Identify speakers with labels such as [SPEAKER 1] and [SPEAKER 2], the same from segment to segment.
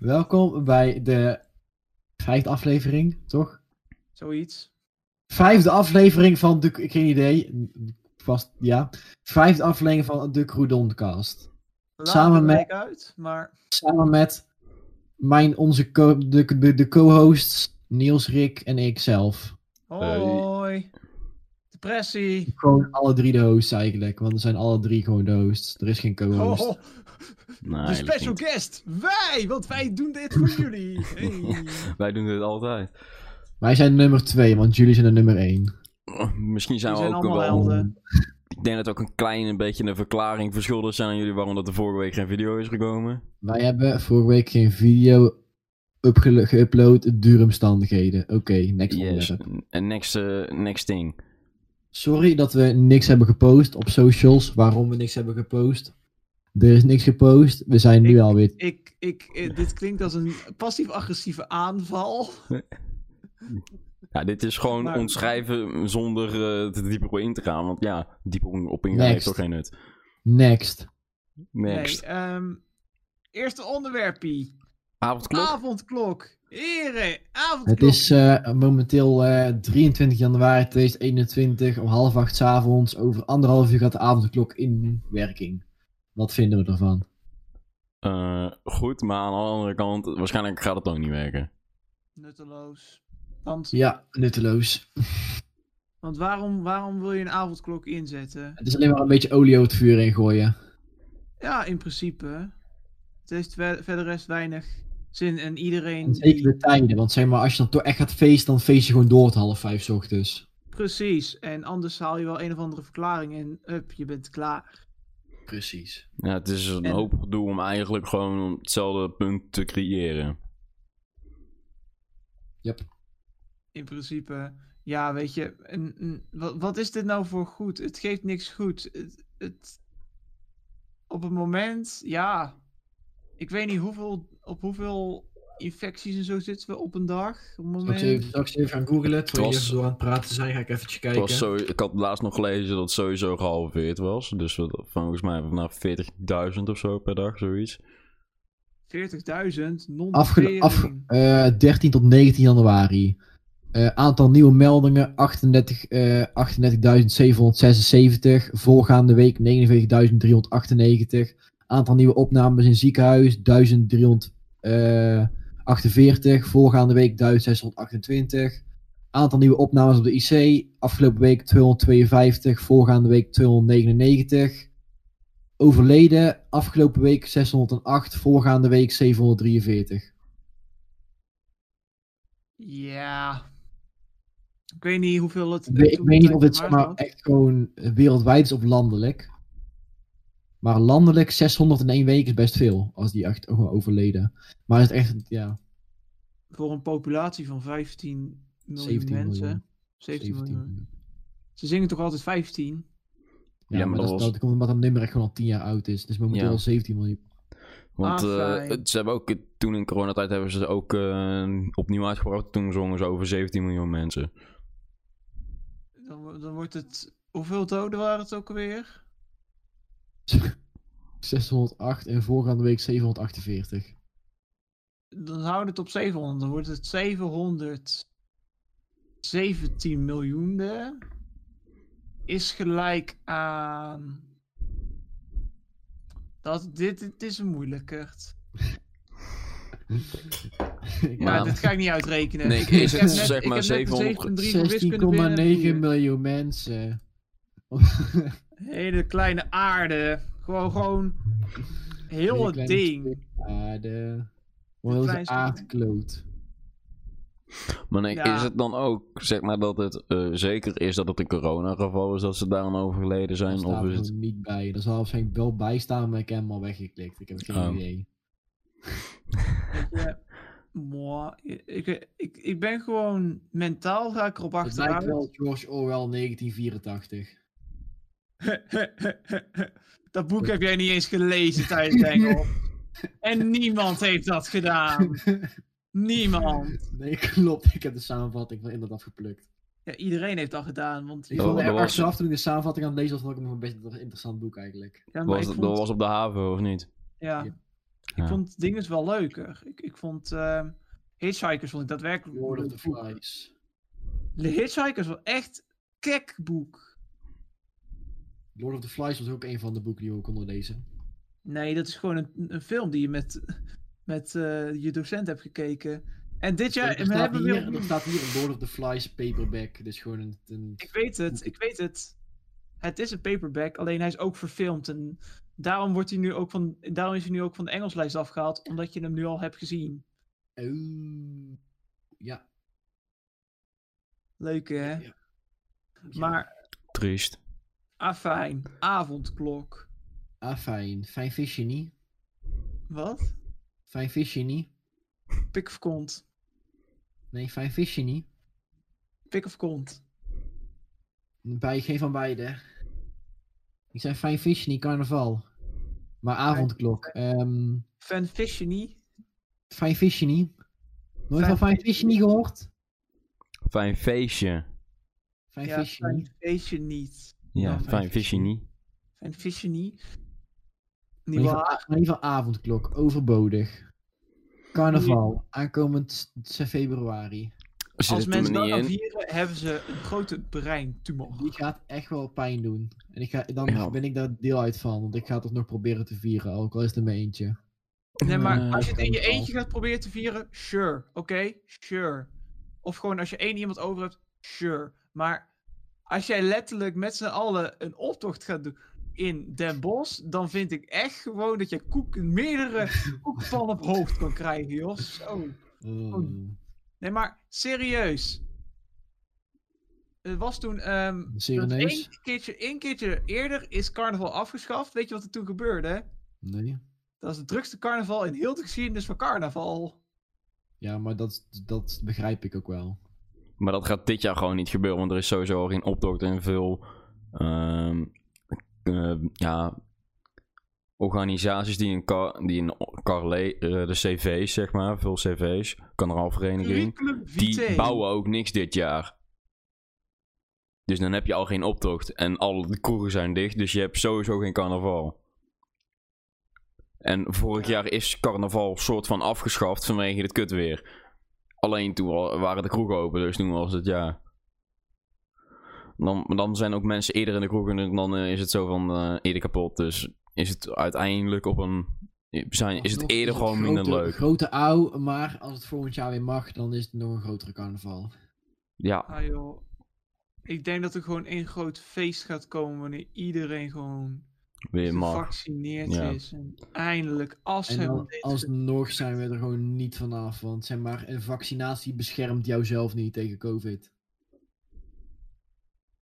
[SPEAKER 1] Welkom bij de vijfde aflevering, toch?
[SPEAKER 2] Zoiets.
[SPEAKER 1] Vijfde aflevering van de... Ik geen idee. Vast, ja. Vijfde aflevering van de Croudoncast.
[SPEAKER 2] Laat
[SPEAKER 1] Samen
[SPEAKER 2] het
[SPEAKER 1] met-
[SPEAKER 2] week uit, maar
[SPEAKER 1] Samen met mijn, onze co de, de, de co-hosts Niels, Rick en ikzelf.
[SPEAKER 2] hoi. Depressie.
[SPEAKER 1] Gewoon alle drie de hosts eigenlijk, want we zijn alle drie gewoon de hosts. Er is geen co-host.
[SPEAKER 2] Oh,
[SPEAKER 3] Nee,
[SPEAKER 2] de
[SPEAKER 3] eigenlijk
[SPEAKER 2] special
[SPEAKER 3] niet.
[SPEAKER 2] guest. Wij, want wij doen dit voor jullie. Hey.
[SPEAKER 3] Wij doen dit altijd.
[SPEAKER 1] Wij zijn nummer twee, want jullie zijn de nummer één. Um,
[SPEAKER 3] Misschien zijn
[SPEAKER 2] Jullie
[SPEAKER 3] we
[SPEAKER 2] zijn
[SPEAKER 3] ook wel...
[SPEAKER 2] allemaal helden.
[SPEAKER 3] Ik denk dat we ook een klein beetje een verklaring verschuldigd zijn aan jullie waarom dat er vorige week geen video is gekomen.
[SPEAKER 1] Wij hebben vorige week geen video upge- geüpload, duuromstandigheden. Oké, next onderwerp.
[SPEAKER 3] En next, eh, next thing.
[SPEAKER 1] Sorry dat we niks hebben gepost op socials. Waarom we niks hebben gepost. Er is niks gepost. We zijn nu
[SPEAKER 2] Ik-
[SPEAKER 1] alweer.
[SPEAKER 2] Ik, ik, eh, dit klinkt als een passief-agressieve aanval.
[SPEAKER 3] Ja, dit is gewoon
[SPEAKER 2] Maar-
[SPEAKER 3] ontschrijven zonder eh, te dieper op in te gaan. Want ja, dieper op ingaan
[SPEAKER 1] Next.
[SPEAKER 3] heeft toch geen nut.
[SPEAKER 1] Next.
[SPEAKER 3] Next.
[SPEAKER 2] Nee, ehm, eerste onderwerpie.
[SPEAKER 3] Avondklok.
[SPEAKER 2] Avondklok. Heren,
[SPEAKER 1] Het
[SPEAKER 2] avondklok.
[SPEAKER 1] is eh, momenteel eh, 23 januari 2021 om half acht 's avonds. Over anderhalf uur gaat de avondklok in werking. Wat vinden we ervan?
[SPEAKER 3] Eh, goed, maar aan de andere kant, waarschijnlijk gaat het ook niet werken.
[SPEAKER 2] Nutteloos. Want,
[SPEAKER 1] Ja, nutteloos.
[SPEAKER 2] want waarom, waarom wil je een avondklok inzetten?
[SPEAKER 1] Het is alleen maar een beetje olie over het vuur heen gooien.
[SPEAKER 2] Ja, in principe. Het heeft ver- verder rest weinig zin. En iedereen
[SPEAKER 1] En zeker
[SPEAKER 2] die...
[SPEAKER 1] de tijden. Want zeg maar, als je dan toch echt gaat feesten, dan feest je gewoon door tot half vijf 's ochtends.
[SPEAKER 2] Precies. En anders haal je wel een of andere verklaring en up, je bent klaar.
[SPEAKER 1] Precies.
[SPEAKER 3] Ja, het is een
[SPEAKER 2] En-
[SPEAKER 3] hoop gedoe om eigenlijk gewoon hetzelfde punt te creëren.
[SPEAKER 2] In principe. Ja, weet je. Een, een- wat, wat is dit nou voor goed? Het geeft niks goed. Het, het- op het moment, ja. Ik weet niet hoeveel, op hoeveel infecties en zo zitten we op een dag.
[SPEAKER 1] Zal
[SPEAKER 2] Op het
[SPEAKER 1] ik
[SPEAKER 2] moment.
[SPEAKER 1] ze even, zal ik ze even gaan googlen? Terwijl
[SPEAKER 3] was-
[SPEAKER 1] jullie even door aan het praten zijn, ga ik eventjes
[SPEAKER 3] Het
[SPEAKER 1] kijken.
[SPEAKER 3] was zo, ik had laatst nog gelezen dat het sowieso gehalveerd was. Dus we- volgens mij vanaf 40.000 of zo per dag, zoiets.
[SPEAKER 2] 40.000 non
[SPEAKER 1] Afge af, eh, 13 tot 19 januari. Eh, aantal nieuwe meldingen 38, eh, 38.776. Voorgaande week 49.398. Aantal nieuwe opnames in ziekenhuis 1348. Voorgaande week 1628. Aantal nieuwe opnames op de IC. Afgelopen week 252. Voorgaande week 299. Overleden afgelopen week 608. Voorgaande week 743.
[SPEAKER 2] Ja. Ik weet niet hoeveel het.
[SPEAKER 1] Ik weet, ik
[SPEAKER 2] toen
[SPEAKER 1] weet niet
[SPEAKER 2] tijd
[SPEAKER 1] of dit
[SPEAKER 2] waard
[SPEAKER 1] maar
[SPEAKER 2] was.
[SPEAKER 1] echt gewoon wereldwijd is of landelijk. Maar landelijk 600 in één week is best veel. Als die echt ook wel overleden. Maar is het echt, ja,
[SPEAKER 2] Voor een populatie van 15 miljoen
[SPEAKER 1] 17
[SPEAKER 2] mensen.
[SPEAKER 1] miljoen.
[SPEAKER 2] 17,
[SPEAKER 1] 17
[SPEAKER 2] miljoen.
[SPEAKER 1] miljoen.
[SPEAKER 2] Ze zingen toch altijd 15?
[SPEAKER 1] Ja,
[SPEAKER 3] Ja, maar
[SPEAKER 1] maar,
[SPEAKER 3] dat
[SPEAKER 1] dat, is-
[SPEAKER 3] was-
[SPEAKER 1] dat komt omdat dat nummer echt gewoon al 10 jaar oud is. Dus momenteel
[SPEAKER 3] Ja.
[SPEAKER 1] al 17 miljoen.
[SPEAKER 3] Want
[SPEAKER 2] Ah,
[SPEAKER 3] eh,
[SPEAKER 2] fijn.
[SPEAKER 3] het- ze hebben ook, toen in coronatijd hebben ze ook eh, opnieuw uitgebracht. Toen zongen ze over 17 miljoen mensen.
[SPEAKER 2] Dan, wo- dan wordt het. Hoeveel doden waren het ook alweer?
[SPEAKER 1] 608 en voorgaande week 748.
[SPEAKER 2] Dan houden het op 700. Dan wordt het 717 miljoende. Is gelijk aan. Dat, dit, dit is een moeilijkerd. Maar
[SPEAKER 3] Ja.
[SPEAKER 2] dit ga ik niet uitrekenen.
[SPEAKER 3] Nee, ik- is
[SPEAKER 2] heb
[SPEAKER 3] het
[SPEAKER 2] net-
[SPEAKER 3] zeg
[SPEAKER 2] ik
[SPEAKER 3] maar
[SPEAKER 2] heb net de
[SPEAKER 3] 700
[SPEAKER 2] 7,3 van wiskunde binnen.
[SPEAKER 1] 16,9 miljoen mensen.
[SPEAKER 2] Hele kleine aarde. Gewoon, gewoon. Heel
[SPEAKER 1] Hele
[SPEAKER 2] het
[SPEAKER 1] kleine
[SPEAKER 2] ding.
[SPEAKER 1] stuk Aarde. Wat
[SPEAKER 2] kleine
[SPEAKER 1] is
[SPEAKER 2] stuk.
[SPEAKER 1] aardkloot?
[SPEAKER 3] Maar nee,
[SPEAKER 2] Ja.
[SPEAKER 3] is het dan ook, zeg maar, dat het eh, zeker is dat het een coronageval is dat ze daar aan overleden
[SPEAKER 1] Daar
[SPEAKER 3] zijn?
[SPEAKER 1] staat
[SPEAKER 3] Of
[SPEAKER 1] er
[SPEAKER 3] is het...
[SPEAKER 1] gewoon niet bij. Er zal waarschijnlijk wel bij staan, maar ik heb hem al weggeklikt. Ik heb geen
[SPEAKER 3] Oh.
[SPEAKER 1] idee.
[SPEAKER 2] Ja, moi. Ik, ik, ik ben gewoon mentaal ga ik erop
[SPEAKER 1] Het lijkt
[SPEAKER 2] achteruit.
[SPEAKER 1] wel George Orwell 1984.
[SPEAKER 2] dat boek heb jij niet eens gelezen tijdens Engel. en niemand heeft dat gedaan. Niemand.
[SPEAKER 1] Nee, klopt. Ik heb de samenvatting van inderdaad geplukt.
[SPEAKER 2] Ja, iedereen heeft dat gedaan. Want
[SPEAKER 1] Ik
[SPEAKER 3] Oh,
[SPEAKER 1] vond
[SPEAKER 3] dat
[SPEAKER 1] er
[SPEAKER 3] was-
[SPEAKER 1] achteraf toen ik de samenvatting aan het lezen was, vond ik hem nog best een interessant boek eigenlijk.
[SPEAKER 2] Ja, maar
[SPEAKER 3] Was,
[SPEAKER 2] ik
[SPEAKER 3] dat
[SPEAKER 2] vond-
[SPEAKER 3] was op de haven of niet?
[SPEAKER 2] ja.
[SPEAKER 1] Ja.
[SPEAKER 3] Ja.
[SPEAKER 2] Ik vond dingen wel leuker. Ik, ik vond ehm Hitchhikers vond ik daadwerkelijk
[SPEAKER 1] Lord of the
[SPEAKER 2] leuk boek.
[SPEAKER 1] Flies.
[SPEAKER 2] De Hitchhikers was echt kek boek.
[SPEAKER 1] Lord of the Flies was ook een van de boeken die we konden lezen.
[SPEAKER 2] Nee, dat is gewoon een, een film die je met, met eh, je docent hebt gekeken. En dit jaar
[SPEAKER 1] er,
[SPEAKER 2] we
[SPEAKER 1] staat
[SPEAKER 2] hebben we
[SPEAKER 1] hier, er
[SPEAKER 2] weer...
[SPEAKER 1] staat hier een Lord of the Flies paperback. Dus gewoon een... een-
[SPEAKER 2] Ik weet het, ik weet het. Het is een paperback, alleen hij is ook verfilmd. En daarom, wordt hij nu ook van, daarom is hij nu ook van de Engelslijst afgehaald, omdat je hem nu al hebt gezien.
[SPEAKER 1] Oh, ja.
[SPEAKER 2] Leuk hè?
[SPEAKER 1] ja. Oh.
[SPEAKER 2] Maar,
[SPEAKER 3] Triest.
[SPEAKER 2] afijn, avondklok.
[SPEAKER 1] Ah, fijn. Fijn visje niet.
[SPEAKER 2] Wat?
[SPEAKER 1] Fijn visje niet.
[SPEAKER 2] Pik of kont.
[SPEAKER 1] Nee, fijn visje niet.
[SPEAKER 2] Pik of kont.
[SPEAKER 1] Bij geen van beide. Ik zei fijn visje niet, carnaval. Maar avondklok. ehm,
[SPEAKER 2] Fanfiction niet?
[SPEAKER 1] fijn visje niet. Nooit
[SPEAKER 2] Fijn
[SPEAKER 1] van fijn
[SPEAKER 2] visje
[SPEAKER 1] visje niet gehoord?
[SPEAKER 3] Fijn feestje.
[SPEAKER 1] Fijn
[SPEAKER 2] Ja,
[SPEAKER 1] visje niet.
[SPEAKER 2] fanfiction niet.
[SPEAKER 3] Ja,
[SPEAKER 1] Ja,
[SPEAKER 3] fijn,
[SPEAKER 1] fijn
[SPEAKER 3] feestje
[SPEAKER 1] feestje.
[SPEAKER 3] niet.
[SPEAKER 2] Fanfiction niet. Niet
[SPEAKER 1] Maar in ieder
[SPEAKER 2] waar?
[SPEAKER 1] geval- maar in ieder geval avondklok. Overbodig. Carnaval. Aankomend s- februari.
[SPEAKER 3] Zit
[SPEAKER 2] Als
[SPEAKER 3] het er
[SPEAKER 2] mensen
[SPEAKER 3] maar
[SPEAKER 2] dat
[SPEAKER 3] niet
[SPEAKER 2] gaan
[SPEAKER 3] in?
[SPEAKER 2] vieren, hebben ze een grote breintumor.
[SPEAKER 1] Die gaat echt wel pijn doen. En ik ga, dan
[SPEAKER 3] Ja.
[SPEAKER 1] ben ik daar deel uit van. Want ik ga het nog proberen te vieren. Ook al is het er maar eentje.
[SPEAKER 2] Nee, maar
[SPEAKER 3] Eh,
[SPEAKER 2] als je het in je
[SPEAKER 1] kan wel.
[SPEAKER 2] eentje gaat proberen te vieren, sure. Oké, sure. Of gewoon als je één iemand over hebt, sure. Maar als jij letterlijk met z'n allen een optocht gaat doen in Den Bosch, dan vind ik echt gewoon dat je koek, meerdere koekvallen op hoofd kan krijgen, joh. Zo.
[SPEAKER 1] Oh.
[SPEAKER 2] Nee, maar serieus. Er was toen... ehm dat
[SPEAKER 1] Sereneus?
[SPEAKER 2] één keertje, één keertje eerder is carnaval afgeschaft. Weet je wat er toen gebeurde?
[SPEAKER 1] Nee.
[SPEAKER 2] Dat is het drukste carnaval in heel de geschiedenis van carnaval.
[SPEAKER 1] Ja, maar dat, dat begrijp ik ook wel.
[SPEAKER 3] Maar dat gaat dit jaar gewoon niet gebeuren, want er is sowieso al geen optocht en veel ehm, eh, ja, organisaties die een car, die een car le- eh, de cv's zeg maar, veel cv's, kanaalvereniging,
[SPEAKER 2] Curriculum
[SPEAKER 3] die
[SPEAKER 2] vitae.
[SPEAKER 3] bouwen ook niks dit jaar. Dus dan heb je al geen optocht en alle kroegen zijn dicht, dus je hebt sowieso geen carnaval. En vorig jaar is carnaval soort van afgeschaft vanwege het kutweer. Alleen toen wa- waren de kroegen open, dus toen was het ja. Dan, dan zijn ook mensen eerder in de kroegen en dan eh, is het zo van eh, eerder kapot. Dus is het uiteindelijk op een. Zijn, is het
[SPEAKER 1] Alsnog
[SPEAKER 3] eerder gewoon
[SPEAKER 1] grote-
[SPEAKER 3] minder leuk?
[SPEAKER 1] Grote ouw, maar als het volgend jaar weer mag, dan is het nog een grotere carnaval.
[SPEAKER 3] Ja,
[SPEAKER 2] Ah joh. Ik denk dat er gewoon één groot feest gaat komen wanneer iedereen gewoon
[SPEAKER 3] weer mag.
[SPEAKER 2] gevaccineerd
[SPEAKER 3] Ja.
[SPEAKER 2] is. En eindelijk af
[SPEAKER 1] En
[SPEAKER 2] zijn van
[SPEAKER 1] dan,
[SPEAKER 2] deze-
[SPEAKER 1] alsnog zijn we er gewoon niet vanaf, want zeg maar, een vaccinatie beschermt jouzelf niet tegen COVID.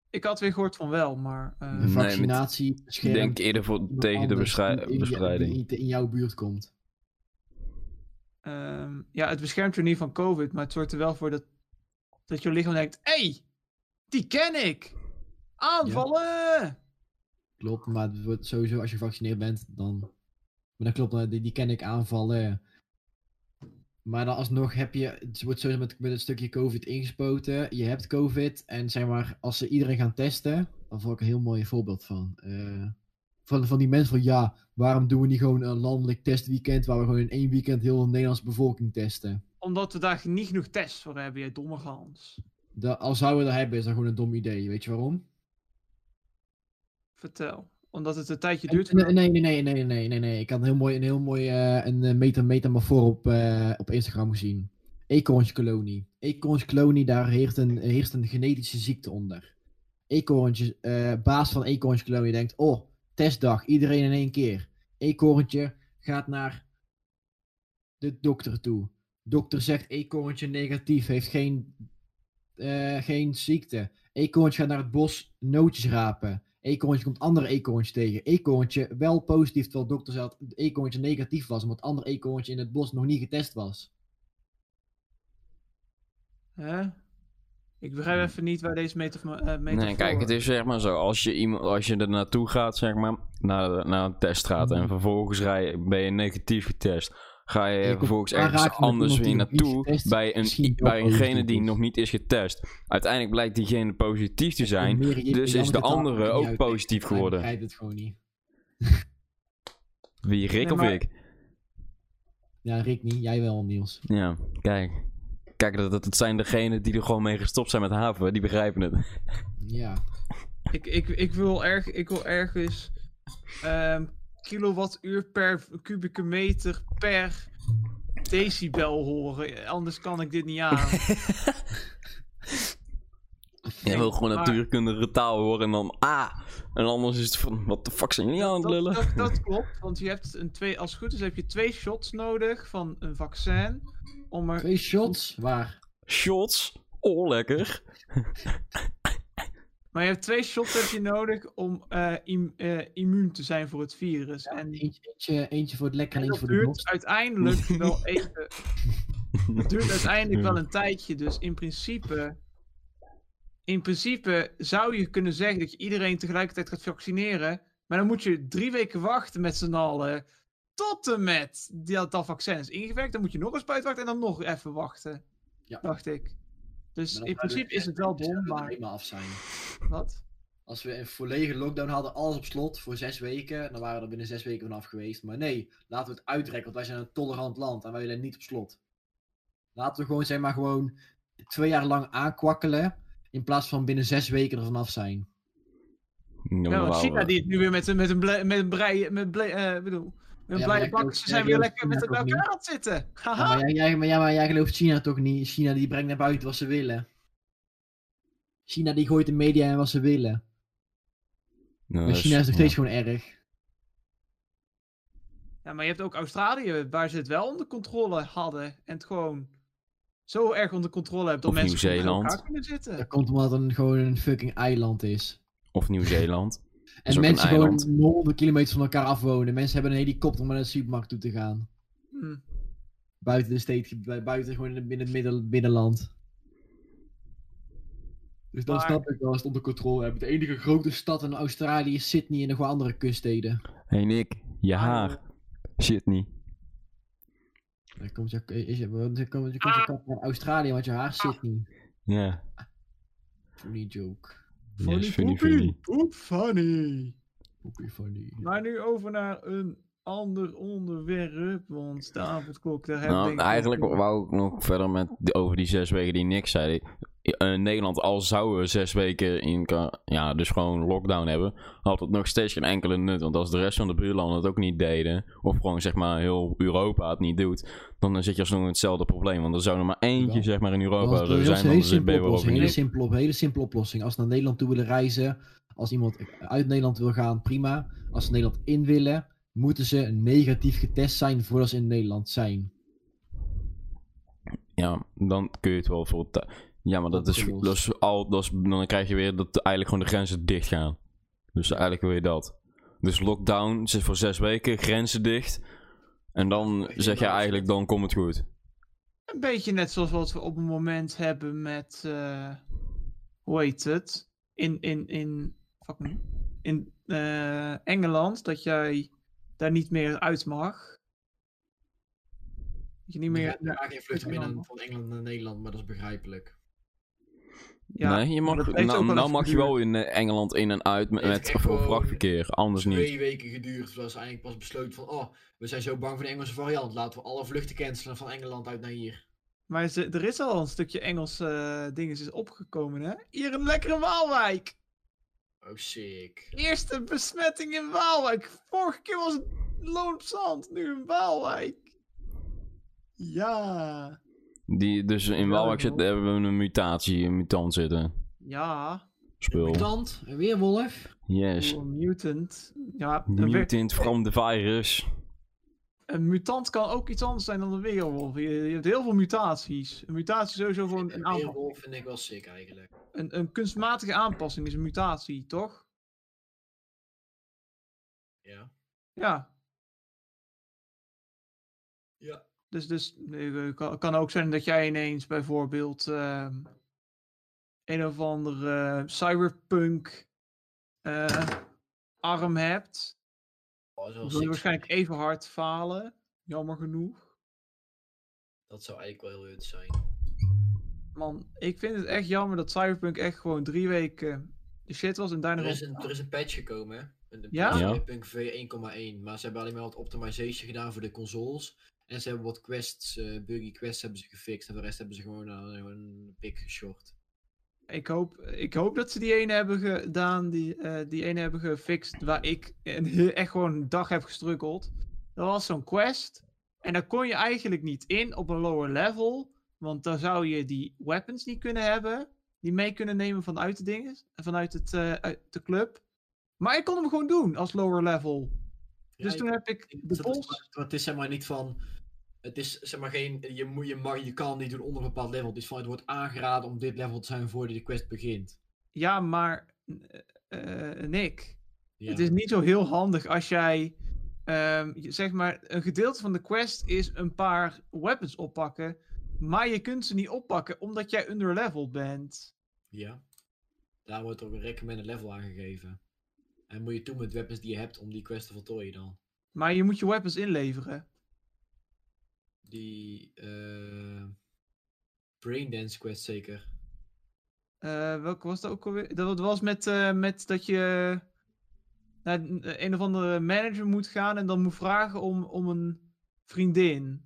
[SPEAKER 2] Ik had weer gehoord van wel, maar...
[SPEAKER 1] Een
[SPEAKER 2] eh,
[SPEAKER 3] Nee, maar het-
[SPEAKER 1] vaccinatie
[SPEAKER 3] Ik
[SPEAKER 1] beschermt
[SPEAKER 3] denk eerder voor,
[SPEAKER 1] iemand
[SPEAKER 3] tegen de
[SPEAKER 1] anders
[SPEAKER 3] beschrij-
[SPEAKER 1] die in je-
[SPEAKER 3] bespreiding.
[SPEAKER 1] Die niet in jouw buurt komt.
[SPEAKER 2] ehm, ja, het beschermt je niet van COVID, maar het zorgt er wel voor dat, dat je lichaam denkt... Hé, hey, die ken ik! Aanvallen!
[SPEAKER 1] Klopt, maar het wordt sowieso als je gevaccineerd bent, dan. Maar dat klopt, eh, die, die ken ik aanvallen. Maar dan alsnog heb je, het wordt sowieso met, met een stukje COVID ingespoten. Je hebt COVID en zeg maar, als ze iedereen gaan testen, dan vond ik een heel mooi voorbeeld van. Eh, van, van die mensen van ja, waarom doen we niet gewoon een landelijk testweekend waar we gewoon in één weekend heel de Nederlandse bevolking testen?
[SPEAKER 2] Omdat we daar niet genoeg tests voor hebben, jij domme Hans.
[SPEAKER 1] Dat, als zouden we dat hebben, is dat gewoon een dom idee. Weet je waarom?
[SPEAKER 2] Vertel. Omdat het een tijdje duurt.
[SPEAKER 1] Nee, nee, nee, nee, nee, nee, nee, nee. Ik had een heel mooi, een heel mooi eh, een eh, meta metamorfoor op, eh, op Instagram gezien. Eekhoornskolonie. Eekhoornskolonie, daar heerst een, heerst een genetische ziekte onder. Eekhoorntjes, eh, baas van Eekhoornskolonie denkt, oh, testdag, iedereen in één keer. Eekhoorntje gaat naar de dokter toe. Dokter zegt, eekhoorntje negatief, heeft geen, eh, geen ziekte. Eekhoorntje gaat naar het bos nootjes rapen. Eekhoorntje komt andere eekhoorntjes tegen. Eekhoorntje wel positief, terwijl dokter zei dat het eekhoorntje negatief was, omdat het andere eekhoorntje in het bos nog niet getest was.
[SPEAKER 2] Hè? Ik begrijp even niet waar deze metafoor... eh metafoor-
[SPEAKER 3] Nee, kijk, het is zeg maar zo. Als je, iemand, als je er naartoe gaat, zeg maar, naar, de- naar een test gaat en vervolgens rij, je- ben je negatief getest. Ga je,
[SPEAKER 1] Mhm. Je komt
[SPEAKER 3] vervolgens
[SPEAKER 1] aanraken
[SPEAKER 3] ergens
[SPEAKER 1] met
[SPEAKER 3] anders
[SPEAKER 1] iemand die
[SPEAKER 3] weer
[SPEAKER 1] nog niet
[SPEAKER 3] naartoe
[SPEAKER 1] getest is,
[SPEAKER 3] bij,
[SPEAKER 1] misschien
[SPEAKER 3] een,
[SPEAKER 1] wel
[SPEAKER 3] bij degene
[SPEAKER 1] positief
[SPEAKER 3] die
[SPEAKER 1] is.
[SPEAKER 3] nog niet is getest. Uiteindelijk blijkt diegene positief te zijn.
[SPEAKER 1] Meer je-
[SPEAKER 3] dus
[SPEAKER 1] jammer
[SPEAKER 3] is de
[SPEAKER 1] dat dat
[SPEAKER 3] andere
[SPEAKER 1] niet
[SPEAKER 3] ook
[SPEAKER 1] uitlegt.
[SPEAKER 3] positief geworden.
[SPEAKER 1] Ik begrijp het gewoon niet.
[SPEAKER 3] Wie, Rick
[SPEAKER 2] Nee,
[SPEAKER 3] of
[SPEAKER 2] maar-
[SPEAKER 3] ik?
[SPEAKER 1] Ja, Rick niet. Jij wel, Niels.
[SPEAKER 3] Ja, kijk. Kijk, dat, dat, dat zijn degenen die er gewoon mee gestopt zijn met haven. Die begrijpen het.
[SPEAKER 1] Ja.
[SPEAKER 2] Ik, ik, ik, wil, erg, ik wil ergens ehm, kilowattuur per kubieke meter per decibel horen. Anders kan ik dit niet aan.
[SPEAKER 3] Je wil gewoon
[SPEAKER 2] Maar-
[SPEAKER 3] natuurkundige taal horen en dan ah. En anders is het van, wat de fuck zijn jullie aan het
[SPEAKER 2] dat,
[SPEAKER 3] lullen?
[SPEAKER 2] dat, dat klopt, want je hebt een twee, als het goed is heb je twee shots nodig van een vaccin. Om er,
[SPEAKER 1] Twee shots. Waar?
[SPEAKER 3] Shots? Oh, lekker.
[SPEAKER 2] maar je hebt twee shots heb je nodig om eh, im- eh, immuun te zijn voor het virus. en die
[SPEAKER 1] Eentje, eentje, eentje voor het lekker en
[SPEAKER 2] En
[SPEAKER 1] eentje voor
[SPEAKER 2] dat
[SPEAKER 1] de
[SPEAKER 2] duurt
[SPEAKER 1] dorst.
[SPEAKER 2] uiteindelijk wel even. Dat duurt uiteindelijk wel een tijdje. Dus in principe. In principe zou je kunnen zeggen dat je iedereen tegelijkertijd gaat vaccineren. Maar dan moet je drie weken wachten met z'n allen. Tot en met dat, dat vaccin is ingewerkt. Dan moet je nog een spuit wachten en dan nog even wachten.
[SPEAKER 1] Ja.
[SPEAKER 2] Dacht ik. Dus
[SPEAKER 1] Maar dan zouden
[SPEAKER 2] in principe
[SPEAKER 1] we-
[SPEAKER 2] is het wel
[SPEAKER 1] zouden
[SPEAKER 2] dom,
[SPEAKER 1] we er
[SPEAKER 2] maar
[SPEAKER 1] helemaal af zijn.
[SPEAKER 2] wat?
[SPEAKER 1] Als we een volledige lockdown hadden, alles op slot voor zes weken, dan waren we er binnen zes weken vanaf geweest. Maar nee, laten we het uitrekken, want wij zijn een tolerant land en wij willen niet op slot. Laten we gewoon, zeg maar, gewoon twee jaar lang aankwakkelen, in plaats van binnen zes weken er vanaf zijn.
[SPEAKER 2] Ja, want
[SPEAKER 3] Normaal,
[SPEAKER 2] China
[SPEAKER 3] eh,
[SPEAKER 2] die het nu weer met een, met een, ble- met een brei, met blij, eh, bedoel, met een
[SPEAKER 1] Ja, maar
[SPEAKER 2] blije
[SPEAKER 1] jij
[SPEAKER 2] bak.
[SPEAKER 1] gelooft-
[SPEAKER 2] Ze
[SPEAKER 1] jij
[SPEAKER 2] zijn weer
[SPEAKER 1] gelooft
[SPEAKER 2] lekker met
[SPEAKER 1] China
[SPEAKER 2] elkaar
[SPEAKER 1] toch
[SPEAKER 2] aan het zitten.
[SPEAKER 1] Ja,
[SPEAKER 2] Haha.
[SPEAKER 1] maar, jij, jij, maar, ja, maar jij gelooft China toch niet? China die brengt naar buiten wat ze willen. China die gooit de media in wat ze willen.
[SPEAKER 3] nou,
[SPEAKER 1] Maar
[SPEAKER 3] dat
[SPEAKER 1] China is nog
[SPEAKER 3] ja.
[SPEAKER 1] steeds gewoon erg.
[SPEAKER 2] Ja, maar je hebt ook Australië, waar ze het wel onder controle hadden. En het gewoon zo erg onder controle hebben dat
[SPEAKER 3] Of
[SPEAKER 2] mensen gewoon met
[SPEAKER 3] Nieuw-Zeeland.
[SPEAKER 2] elkaar kunnen zitten.
[SPEAKER 1] Dat komt omdat het een- gewoon een fucking eiland is.
[SPEAKER 3] Of Nieuw-Zeeland. is
[SPEAKER 1] En
[SPEAKER 3] ook een
[SPEAKER 1] mensen gewoon
[SPEAKER 3] eiland.
[SPEAKER 1] honderden kilometers van elkaar afwonen. Mensen hebben een helikopter om naar de supermarkt toe te gaan.
[SPEAKER 2] Hm.
[SPEAKER 1] Buiten de state, bu- buiten gewoon in het binnen- midden- binnenland. Dus dan
[SPEAKER 2] Maar-
[SPEAKER 1] snap ik wel als het onder controle hebben. De enige grote stad in Australië is Sydney en nog wel andere kuststeden.
[SPEAKER 3] Hé hey Nick, je
[SPEAKER 2] Hmm.
[SPEAKER 3] haar. Shit niet.
[SPEAKER 1] Dan komt je, is je, want dan komt je, komt je kat naar Australië, want je haar zit niet.
[SPEAKER 3] Ja.
[SPEAKER 1] Funny joke.
[SPEAKER 3] Ja, is funny,
[SPEAKER 2] poepie,
[SPEAKER 3] funny.
[SPEAKER 2] poep funny.
[SPEAKER 1] Oké, funny.
[SPEAKER 2] Maar nu over naar een ander onderwerp, want de avondklok, daar hebben
[SPEAKER 3] Nou, eigenlijk wou ik nog verder met de- over die zes weken die niks zei. In Nederland, al zouden we zes weken in, ka- ja, dus gewoon lockdown hebben, had het nog steeds geen enkele nut. Want als de rest van de buurlanden het ook niet deden, of gewoon zeg maar heel Europa het niet doet, dan eh, zit je alsnog in hetzelfde probleem. Want er zou er maar eentje
[SPEAKER 1] Ja.
[SPEAKER 3] zeg maar in
[SPEAKER 1] Dat
[SPEAKER 3] Europa
[SPEAKER 1] is een
[SPEAKER 3] zou
[SPEAKER 1] heel,
[SPEAKER 3] zijn,
[SPEAKER 1] heel
[SPEAKER 3] dan zit-
[SPEAKER 1] simpele
[SPEAKER 3] ben je weer
[SPEAKER 1] oplossing. Hele
[SPEAKER 3] overnieuw.
[SPEAKER 1] simpele, op- hele simpele oplossing. Als ze naar Nederland toe willen reizen, als iemand uit Nederland wil gaan, prima. Als ze Nederland in willen, moeten ze negatief getest zijn voordat ze in Nederland zijn.
[SPEAKER 3] Ja, dan kun je het wel voor... ta- Ja, maar dat
[SPEAKER 1] Dat
[SPEAKER 3] is,
[SPEAKER 1] is los.
[SPEAKER 3] dat is al... Dat is, dan krijg je weer dat de- eigenlijk gewoon de grenzen dicht gaan. Dus eigenlijk wil je dat. Dus lockdown, zit voor zes weken, grenzen dicht. En dan zeg je eigenlijk, dan komt het goed.
[SPEAKER 2] Een beetje net zoals wat we op het moment hebben met, eh, hoe heet het? In, in, in, fuck me. in eh, Engeland, dat jij daar niet meer uit mag. Dat je niet meer...
[SPEAKER 1] geen
[SPEAKER 2] vluchten meer naar-
[SPEAKER 1] van Engeland naar Nederland, maar dat is begrijpelijk.
[SPEAKER 2] Ja,
[SPEAKER 3] nee, je
[SPEAKER 2] maar
[SPEAKER 3] mag,
[SPEAKER 2] dat heeft ook
[SPEAKER 3] nou,
[SPEAKER 2] wel
[SPEAKER 3] nou
[SPEAKER 2] even
[SPEAKER 3] mag je
[SPEAKER 2] geduurd.
[SPEAKER 3] wel in eh, Engeland in en uit met,
[SPEAKER 1] Het
[SPEAKER 3] met
[SPEAKER 1] heeft echt
[SPEAKER 3] voor
[SPEAKER 1] gewoon
[SPEAKER 3] vrachtverkeer. Anders niet.
[SPEAKER 1] weken geduurd, zoals eigenlijk pas besloten van, oh, we zijn zo bang voor de Engelse variant. Laten we alle vluchten cancelen van Engeland uit naar hier.
[SPEAKER 2] Maar ze- er is al een stukje Engels eh dinges is opgekomen, hè? Hier in lekkere Waalwijk.
[SPEAKER 1] Oh, sick.
[SPEAKER 2] Eerste besmetting in Waalwijk. Vorige keer was het loon op zand, nu in Waalwijk. Ja.
[SPEAKER 3] Die, dus in Waalwijk zit,
[SPEAKER 2] joh.
[SPEAKER 3] hebben we een mutatie, een mutant zitten.
[SPEAKER 2] Ja.
[SPEAKER 3] Spul.
[SPEAKER 1] Mutant, een weerwolf.
[SPEAKER 3] Yes.
[SPEAKER 2] Een mutant. Ja, een, we-
[SPEAKER 3] Dus Mutant from the virus.
[SPEAKER 2] een mutant kan ook iets anders zijn dan een weerwolf. Je, je hebt heel veel mutaties. Een mutatie is sowieso gewoon een, aanpa-
[SPEAKER 1] weerwolf vind ik wel sick eigenlijk.
[SPEAKER 2] een, een kunstmatige aanpassing is een mutatie, toch?
[SPEAKER 1] Ja.
[SPEAKER 2] Ja.
[SPEAKER 1] Ja.
[SPEAKER 2] Dus, dus eh, kan, kan ook zijn dat jij ineens bijvoorbeeld ehm, een of andere eh, cyberpunk eh, arm hebt.
[SPEAKER 1] Oh, dat, is wel
[SPEAKER 2] Dan zul je
[SPEAKER 1] sick.
[SPEAKER 2] waarschijnlijk even hard falen. Jammer genoeg.
[SPEAKER 1] dat zou eigenlijk wel heel leuk zijn.
[SPEAKER 2] Man, ik vind het echt jammer dat cyberpunk echt gewoon drie weken de shit was en daarna...
[SPEAKER 1] Er is,
[SPEAKER 2] gewoon-
[SPEAKER 1] een, er is een patch gekomen. hè? Een een
[SPEAKER 2] Ja?
[SPEAKER 1] patch
[SPEAKER 3] Ja.
[SPEAKER 1] met Punk V 1,1. Maar ze hebben alleen maar wat optimization gedaan voor de consoles. En ze hebben wat quests, eh, buggy quests hebben ze gefixt. En voor de rest hebben ze gewoon aan een pik
[SPEAKER 2] Dus
[SPEAKER 1] geshort.
[SPEAKER 2] Ik hoop, ik hoop dat ze die ene hebben gedaan, die, eh, die ene hebben gefixt, waar ik een, he- echt gewoon een dag heb gestrukkeld. Dat was zo'n quest. En daar kon je eigenlijk niet in op een lower level. Want dan zou je die weapons niet kunnen hebben. Die mee kunnen nemen vanuit de dingen. Vanuit het, eh, uit de club. Maar ik kon hem gewoon doen als lower level.
[SPEAKER 1] Ja,
[SPEAKER 2] Dus
[SPEAKER 1] ik-
[SPEAKER 2] toen heb ik
[SPEAKER 1] ik-
[SPEAKER 2] de
[SPEAKER 1] dat-
[SPEAKER 2] boss.
[SPEAKER 1] maar Het is zeg maar niet van. Het is zeg maar geen. Je, moet, je, mag, je kan het niet doen onder een bepaald level. Het is van. Het wordt aangeraden om dit level te zijn voordat de quest begint.
[SPEAKER 2] Ja, maar eh, eh, Nick.
[SPEAKER 1] Ja.
[SPEAKER 2] Het is niet zo heel handig als jij, ehm, je- zeg maar, een gedeelte van de quest is een paar weapons oppakken, maar je kunt ze niet oppakken omdat jij underleveled bent.
[SPEAKER 1] ja. Daar wordt ook een recommended level aangegeven. En moet je toe met weapons die je hebt om die quest te voltooien dan.
[SPEAKER 2] Maar je moet je weapons inleveren.
[SPEAKER 1] Die. eh Braindance quest zeker.
[SPEAKER 2] Eh, welke was dat ook alweer? Dat was met, eh, met dat je naar een- een of andere manager moet gaan en dan moet vragen om, om een vriendin.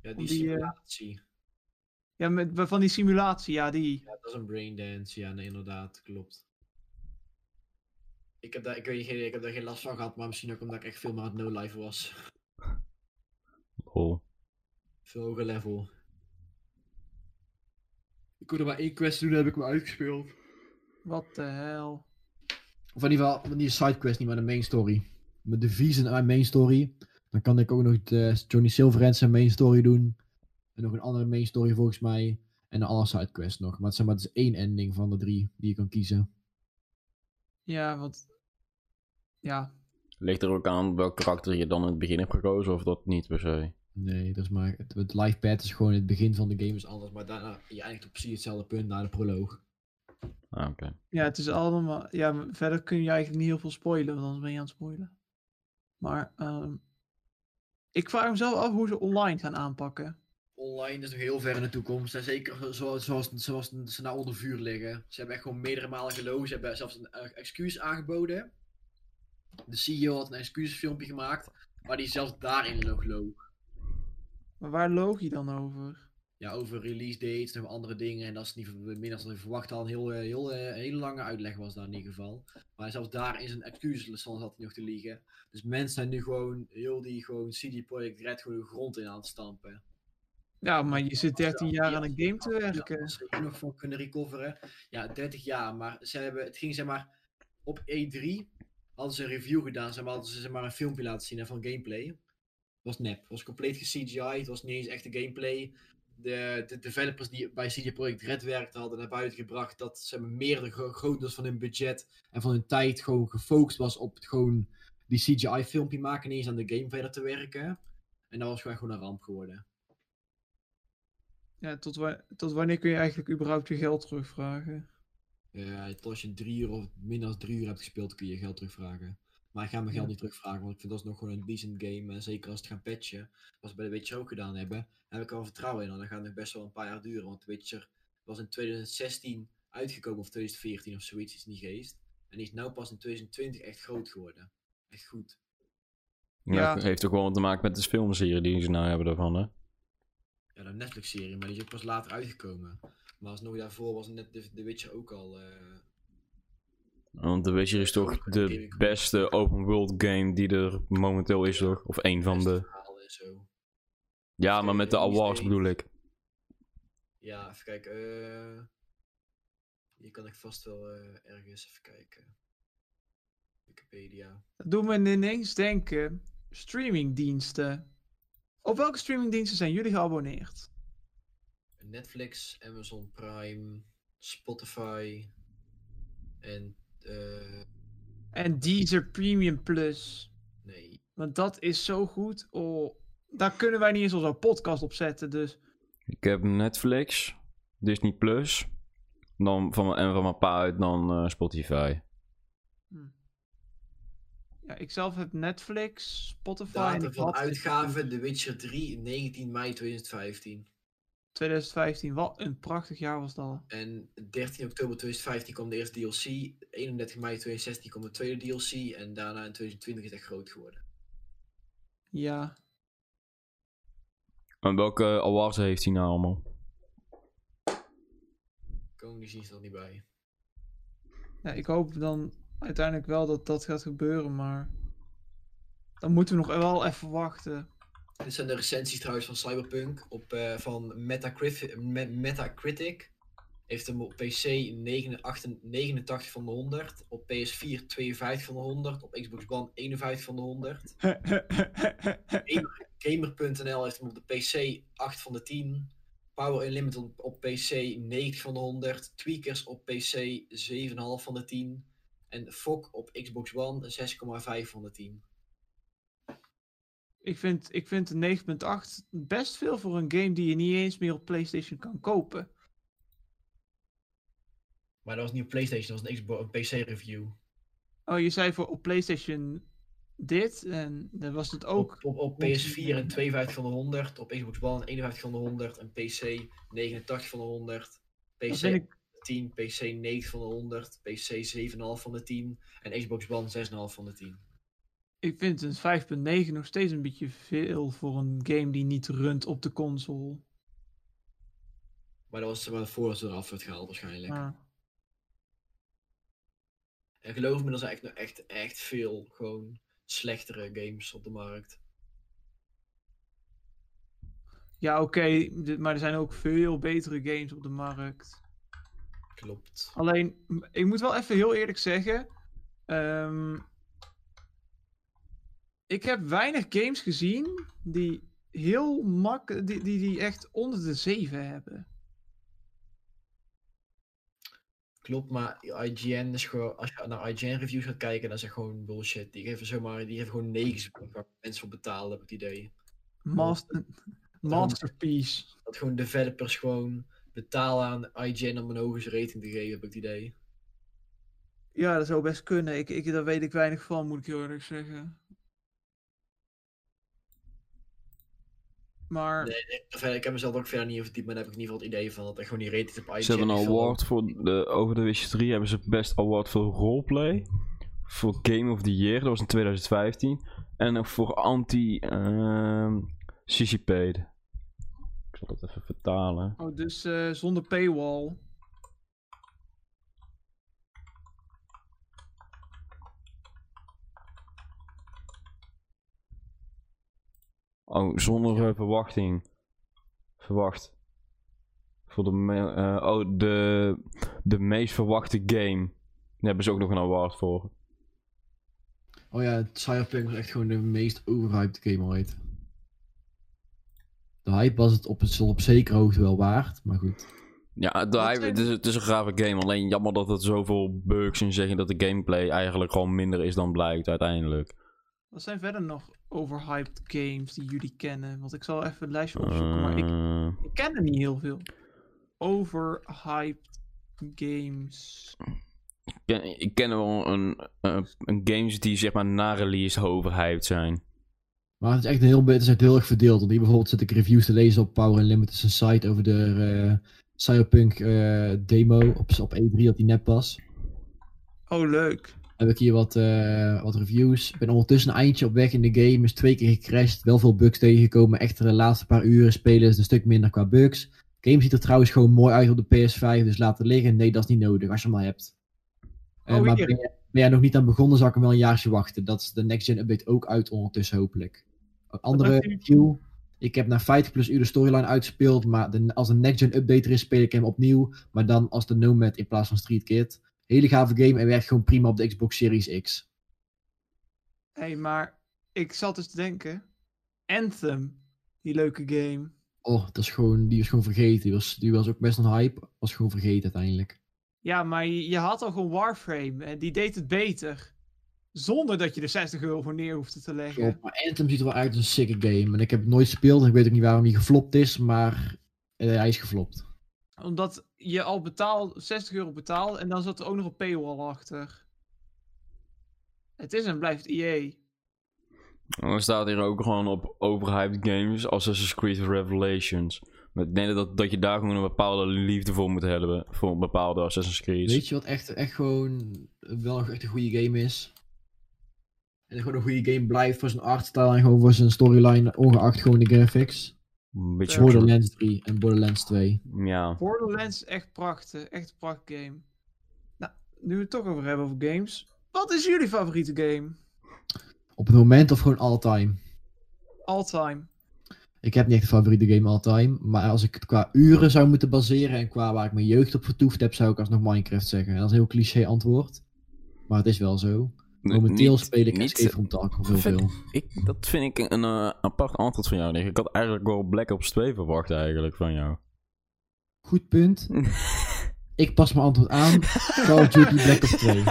[SPEAKER 1] Ja,
[SPEAKER 2] Om
[SPEAKER 1] die
[SPEAKER 2] die, eh,
[SPEAKER 1] simulatie.
[SPEAKER 2] Ja, met, van die simulatie, ja, die.
[SPEAKER 1] Ja, dat is een braindance. Ja, nee, inderdaad. Klopt. Ik heb, daar, ik, weet, geen- ik heb daar geen last van gehad, maar misschien ook omdat ik echt veel meer aan het no-life was.
[SPEAKER 3] Oh.
[SPEAKER 1] Veel hoger level. Ik kon er maar één quest doen, heb ik me uitgespeeld.
[SPEAKER 2] Wat de hel.
[SPEAKER 1] Of in ieder geval, niet een sidequest, niet maar de main story. Met de V's en mijn main story. Dan kan ik ook nog de Johnny Silverhand zijn main story doen. En nog een andere main story volgens mij. En een andere sidequest nog. Maar het, zeg maar, het is één ending van de drie die je kan kiezen.
[SPEAKER 2] Ja, wat. Ja,
[SPEAKER 3] Ligt er ook aan welk karakter je dan in het begin hebt gekozen of dat niet per se?
[SPEAKER 1] Nee, dat is maar, het, het live pad is gewoon het begin van de game is anders. Maar daarna, je eindigt op precies hetzelfde punt na de proloog.
[SPEAKER 3] Ah, oké.
[SPEAKER 2] Ja, het is allemaal. Ja, maar verder kun je eigenlijk niet heel veel spoilen, want anders ben je aan het spoilen. Maar ehm, ik vraag me zelf af hoe ze online gaan aanpakken.
[SPEAKER 1] Online is nog heel ver in de toekomst. En zeker zoals, zoals, zoals ze nou onder vuur liggen. Ze hebben echt gewoon meerdere malen gelogen. Ze hebben zelfs een eh, excuus aangeboden. De CEO had een excuusfilmpje gemaakt. Maar die zelfs daarin nog loog.
[SPEAKER 2] Maar waar loog je dan over?
[SPEAKER 1] Ja, over release dates, nog andere dingen. En dat is niet minder dan ze verwacht hadden. Een heel, eh, heel, eh, een hele lange uitleg was daar in ieder geval. Maar zelfs daar in zijn excuus zat hij nog te liegen. Dus mensen zijn nu gewoon, heel die gewoon CD Projekt Red gewoon de grond in aan het stampen.
[SPEAKER 2] Ja, maar eh, je zit 13 jaar aan een game te
[SPEAKER 1] Ja,
[SPEAKER 2] werken.
[SPEAKER 1] Als ze er nog voor kunnen recoveren. Ja, 30 jaar. Maar ze hebben, het ging zeg maar op E3 hadden ze een review gedaan. Zeg maar, hadden ze zeg maar een filmpje laten zien hè, van gameplay. Was nep. Was compleet ge-CGI. Het was niet eens echte gameplay. De, de developers die bij CD Projekt Red werkten hadden naar buiten gebracht dat ze meerdere gro- groot deels van hun budget en van hun tijd gewoon gefocust was op het gewoon die CGI-filmpje maken, niet eens aan de game verder te werken. En dat was gewoon, gewoon een ramp geworden.
[SPEAKER 2] Ja, tot, wa- tot wanneer kun je eigenlijk überhaupt je geld terugvragen?
[SPEAKER 1] Ja, het- Eh, als je drie uur of minder dan drie uur hebt gespeeld, kun je je geld terugvragen. Maar ik ga mijn geld
[SPEAKER 2] Ja.
[SPEAKER 1] niet terugvragen, want ik vind dat is nog gewoon een decent game. En zeker als ze het gaan patchen, wat ze bij de Witcher ook gedaan hebben, heb ik er wel vertrouwen in. En dan gaat het nog best wel een paar jaar duren, want The Witcher was in 2016 uitgekomen of 2014 of zoiets, is niet geest. En die is nou pas in 2020 echt groot geworden. Echt goed.
[SPEAKER 3] Ja,
[SPEAKER 2] Ja.
[SPEAKER 3] het heeft ook gewoon te maken met de filmserie die ze nou hebben daarvan, hè?
[SPEAKER 1] Ja, de Netflix-serie, maar die is ook pas later uitgekomen. Maar alsnog daarvoor was net The The Witcher ook al... eh,
[SPEAKER 3] Want The Witcher is toch de beste open world game die er momenteel is, toch? Of één van
[SPEAKER 1] beste
[SPEAKER 3] de...
[SPEAKER 1] verhalen en zo.
[SPEAKER 3] Ja, maar met de awards bedoel ik.
[SPEAKER 1] Ja, even kijken. eh, hier kan ik vast wel eh, ergens even kijken. Wikipedia.
[SPEAKER 2] Dat doet me ineens denken. Streamingdiensten. Op welke streamingdiensten zijn jullie geabonneerd?
[SPEAKER 1] Netflix, Amazon Prime, Spotify en eh,
[SPEAKER 2] En Deezer Premium Plus.
[SPEAKER 1] nee.
[SPEAKER 2] Want dat is zo goed. Oh, daar kunnen wij niet eens onze podcast op zetten. Dus
[SPEAKER 3] Ik heb Netflix, Disney+, Plus, dan van, mijn- en van mijn pa uit dan eh, Spotify.
[SPEAKER 2] ja, ik zelf heb Netflix, Spotify. en
[SPEAKER 1] Datum
[SPEAKER 2] ik
[SPEAKER 1] van
[SPEAKER 2] had
[SPEAKER 1] uitgave The Witcher 3, 19 mei 2015.
[SPEAKER 2] 2015. Wat een prachtig jaar was dat.
[SPEAKER 1] En 13 oktober 2015 kwam de eerste DLC. 31 mei 2016 kwam de tweede DLC. En daarna in 2020 is het echt groot geworden.
[SPEAKER 2] Ja.
[SPEAKER 3] En welke awards heeft hij nou allemaal?
[SPEAKER 1] Koningsdienst staat niet bij.
[SPEAKER 2] Ja, ik hoop dan uiteindelijk wel dat dat gaat gebeuren, maar dan moeten we nog wel even wachten.
[SPEAKER 1] Dit zijn de recensies trouwens van Cyberpunk op, eh, van Metacrif- Me- Metacritic. Heeft hem op PC 89, 89 van de 100, op PS4 52 van de 100, op Xbox One 51 van de 100. Gamer.nl heeft hem op de PC 8 van de 10. Power Unlimited op- op PC 90 van de 100. Tweakers op PC 7,5 van de 10. En Fok op Xbox One 6,5 van de 10.
[SPEAKER 2] ik, vind, ik vind een 9.8 best veel voor een game die je niet eens meer op PlayStation kan kopen.
[SPEAKER 1] Maar dat was niet op PlayStation, dat was een, Xbox, een PC review.
[SPEAKER 2] Oh, je zei voor op PlayStation dit en dan was het ook.
[SPEAKER 1] Op, op, op PS4 een 52 van de 100, op Xbox One een 51 van de 100, een PC 89 van de 100,
[SPEAKER 2] Dan
[SPEAKER 1] PC
[SPEAKER 2] vind ik,
[SPEAKER 1] 10, PC 9 van de 100, PC 7,5 van de 10 en Xbox One 6,5 van de 10.
[SPEAKER 2] ik vind een 5.9 nog steeds een beetje veel voor een game die niet runt op de console.
[SPEAKER 1] Maar dat was zeg maar voordat ze eraf werd gehaald waarschijnlijk.
[SPEAKER 2] Maar-
[SPEAKER 1] En geloof me, er zijn echt, nog echt, echt veel gewoon slechtere games op de markt.
[SPEAKER 2] Ja, oké, dit- maar er zijn ook veel betere games op de markt.
[SPEAKER 1] Klopt.
[SPEAKER 2] Alleen, m- ik moet wel even heel eerlijk zeggen. ehm, ik heb weinig games gezien die heel mak... Die, die, die echt onder de 7 hebben.
[SPEAKER 1] Klopt, maar IGN is gewoon, als je naar IGN reviews gaat kijken, dan is echt gewoon bullshit. Die geven zomaar, die geven gewoon 9 waar mensen voor betalen, heb ik het idee.
[SPEAKER 2] Master, masterpiece.
[SPEAKER 1] dat gewoon developers gewoon betalen aan IGN om een hoge rating te geven, heb ik het idee.
[SPEAKER 2] Ja, dat zou best kunnen. Ik, ik, daar weet ik weinig van, moet ik heel eerlijk zeggen. Maar...
[SPEAKER 1] Nee, Verder, ik heb mezelf ook verder niet over diep, maar daar heb ik in ieder geval het idee van dat er gewoon die rating op IGN...
[SPEAKER 3] Ze hebben
[SPEAKER 1] is
[SPEAKER 3] een
[SPEAKER 1] veel
[SPEAKER 3] award voor de, over de Witcher 3. Hebben ze best award voor roleplay. Voor Game of the Year, dat was in 2015. En nog voor anti ehm CCP'd. Ik zal dat even vertalen.
[SPEAKER 2] Oh, dus eh, zonder paywall.
[SPEAKER 3] Oh, zonder eh, verwachting. Verwacht. Voor de, me- eh, oh, de, de meest verwachte game. Daar hebben ze ook nog een award voor.
[SPEAKER 1] Oh ja, Cyberpunk was echt gewoon de meest overhyped game ooit. De hype was het op, het op zekere hoogte wel waard, maar goed.
[SPEAKER 3] Ja, de
[SPEAKER 2] Wat
[SPEAKER 3] hype-
[SPEAKER 2] zijn-
[SPEAKER 3] het, is, het is een grave game. Alleen jammer dat het zoveel bugs in zeggen dat de gameplay eigenlijk gewoon minder is dan blijkt uiteindelijk.
[SPEAKER 2] Wat zijn verder nog overhyped games die jullie kennen? Want ik zal even het lijstje
[SPEAKER 1] Oh,
[SPEAKER 2] opzoeken, maar ik,
[SPEAKER 3] Eh,
[SPEAKER 2] ik ken er niet heel veel. Overhyped games.
[SPEAKER 3] ik ken- ik ken wel een, eh, een games die zeg maar na release overhyped zijn.
[SPEAKER 1] Maar het is echt een heel, het is echt heel erg verdeeld. Want hier bijvoorbeeld zit ik reviews te lezen op Power Unlimited zijn site over de eh, Cyberpunk eh, demo op, op E3 dat die nep was.
[SPEAKER 2] Oh, leuk.
[SPEAKER 1] heb ik hier wat, eh, wat reviews. Ik ben ondertussen een eindje op weg in de game. Is twee keer gecrashed. Wel veel bugs tegengekomen. Echter de laatste paar uren spelen is het een stuk minder qua bugs. game ziet er trouwens gewoon mooi uit op de PS5. Dus laten liggen. Nee, dat is niet nodig als je hem al hebt. Eh,
[SPEAKER 2] Oh,
[SPEAKER 1] maar
[SPEAKER 2] hier.
[SPEAKER 1] ben jij, ben jij nog niet aan begonnen, zal ik hem wel een jaartje wachten. Dat is de next gen update ook uit ondertussen hopelijk. Een andere
[SPEAKER 2] dacht u?
[SPEAKER 1] review. Ik heb na 50 plus uur de storyline uitgespeeld. Maar de, als de next gen update er is, speel ik hem opnieuw. Maar dan als de Nomad in plaats van Street Kid. Hele gave game en werkt gewoon prima op de Xbox Series X.
[SPEAKER 2] Hé, hey, maar ik zat dus te denken. Anthem, die leuke game.
[SPEAKER 1] Oh, dat is gewoon, die was gewoon vergeten. Die was, die was ook best een hype. Was gewoon vergeten uiteindelijk.
[SPEAKER 2] Ja, maar je, je had al gewoon Warframe. En die deed het beter. Zonder dat je er 60 euro voor neer hoefde te leggen.
[SPEAKER 1] Klopt, maar Anthem ziet er wel uit als een sicke game. En ik heb het nooit gespeeld. En ik weet ook niet waarom hij geflopt is. Maar eh, hij is geflopt.
[SPEAKER 2] Omdat je al betaalt, 60 euro betaalt en dan zat er ook nog een paywall achter. Het is en blijft E EA.
[SPEAKER 3] En Dan staat hier ook gewoon op overhyped games Assassin's Creed Revelations. Maar Ik denk dat, dat je daar gewoon een bepaalde liefde voor moet hebben. Voor bepaalde Assassin's Creed's.
[SPEAKER 1] Weet je wat echt, echt gewoon wel nog echt een goede game is? En gewoon een goede game blijft voor zijn artstyle en gewoon voor zijn storyline, ongeacht gewoon de graphics.
[SPEAKER 3] Een beetje...
[SPEAKER 1] Borderlands 3 en Borderlands 2.
[SPEAKER 3] Ja.
[SPEAKER 2] Borderlands is echt prachtig. Echt een prachtig game. Nou, nu we het toch over hebben over games. Wat is jullie favoriete game?
[SPEAKER 1] Op het moment of gewoon all time?
[SPEAKER 2] All time.
[SPEAKER 1] Ik heb niet echt een favoriete game all time. Maar als ik het qua uren zou moeten baseren en qua waar ik mijn jeugd op vertoefd heb, zou ik alsnog Minecraft zeggen. En dat is een heel cliché antwoord. Maar het is wel zo. Momenteel
[SPEAKER 3] Niet-
[SPEAKER 1] speel ik
[SPEAKER 3] niet-
[SPEAKER 1] Escape from Tarkov heel
[SPEAKER 3] Vind-
[SPEAKER 1] veel.
[SPEAKER 3] Ik, dat vind ik een eh, apart antwoord van jou, Nick. Ik had eigenlijk wel Black Ops 2 verwacht eigenlijk van jou.
[SPEAKER 1] Goed punt. ik pas mijn antwoord aan. Call of Duty Black Ops 2.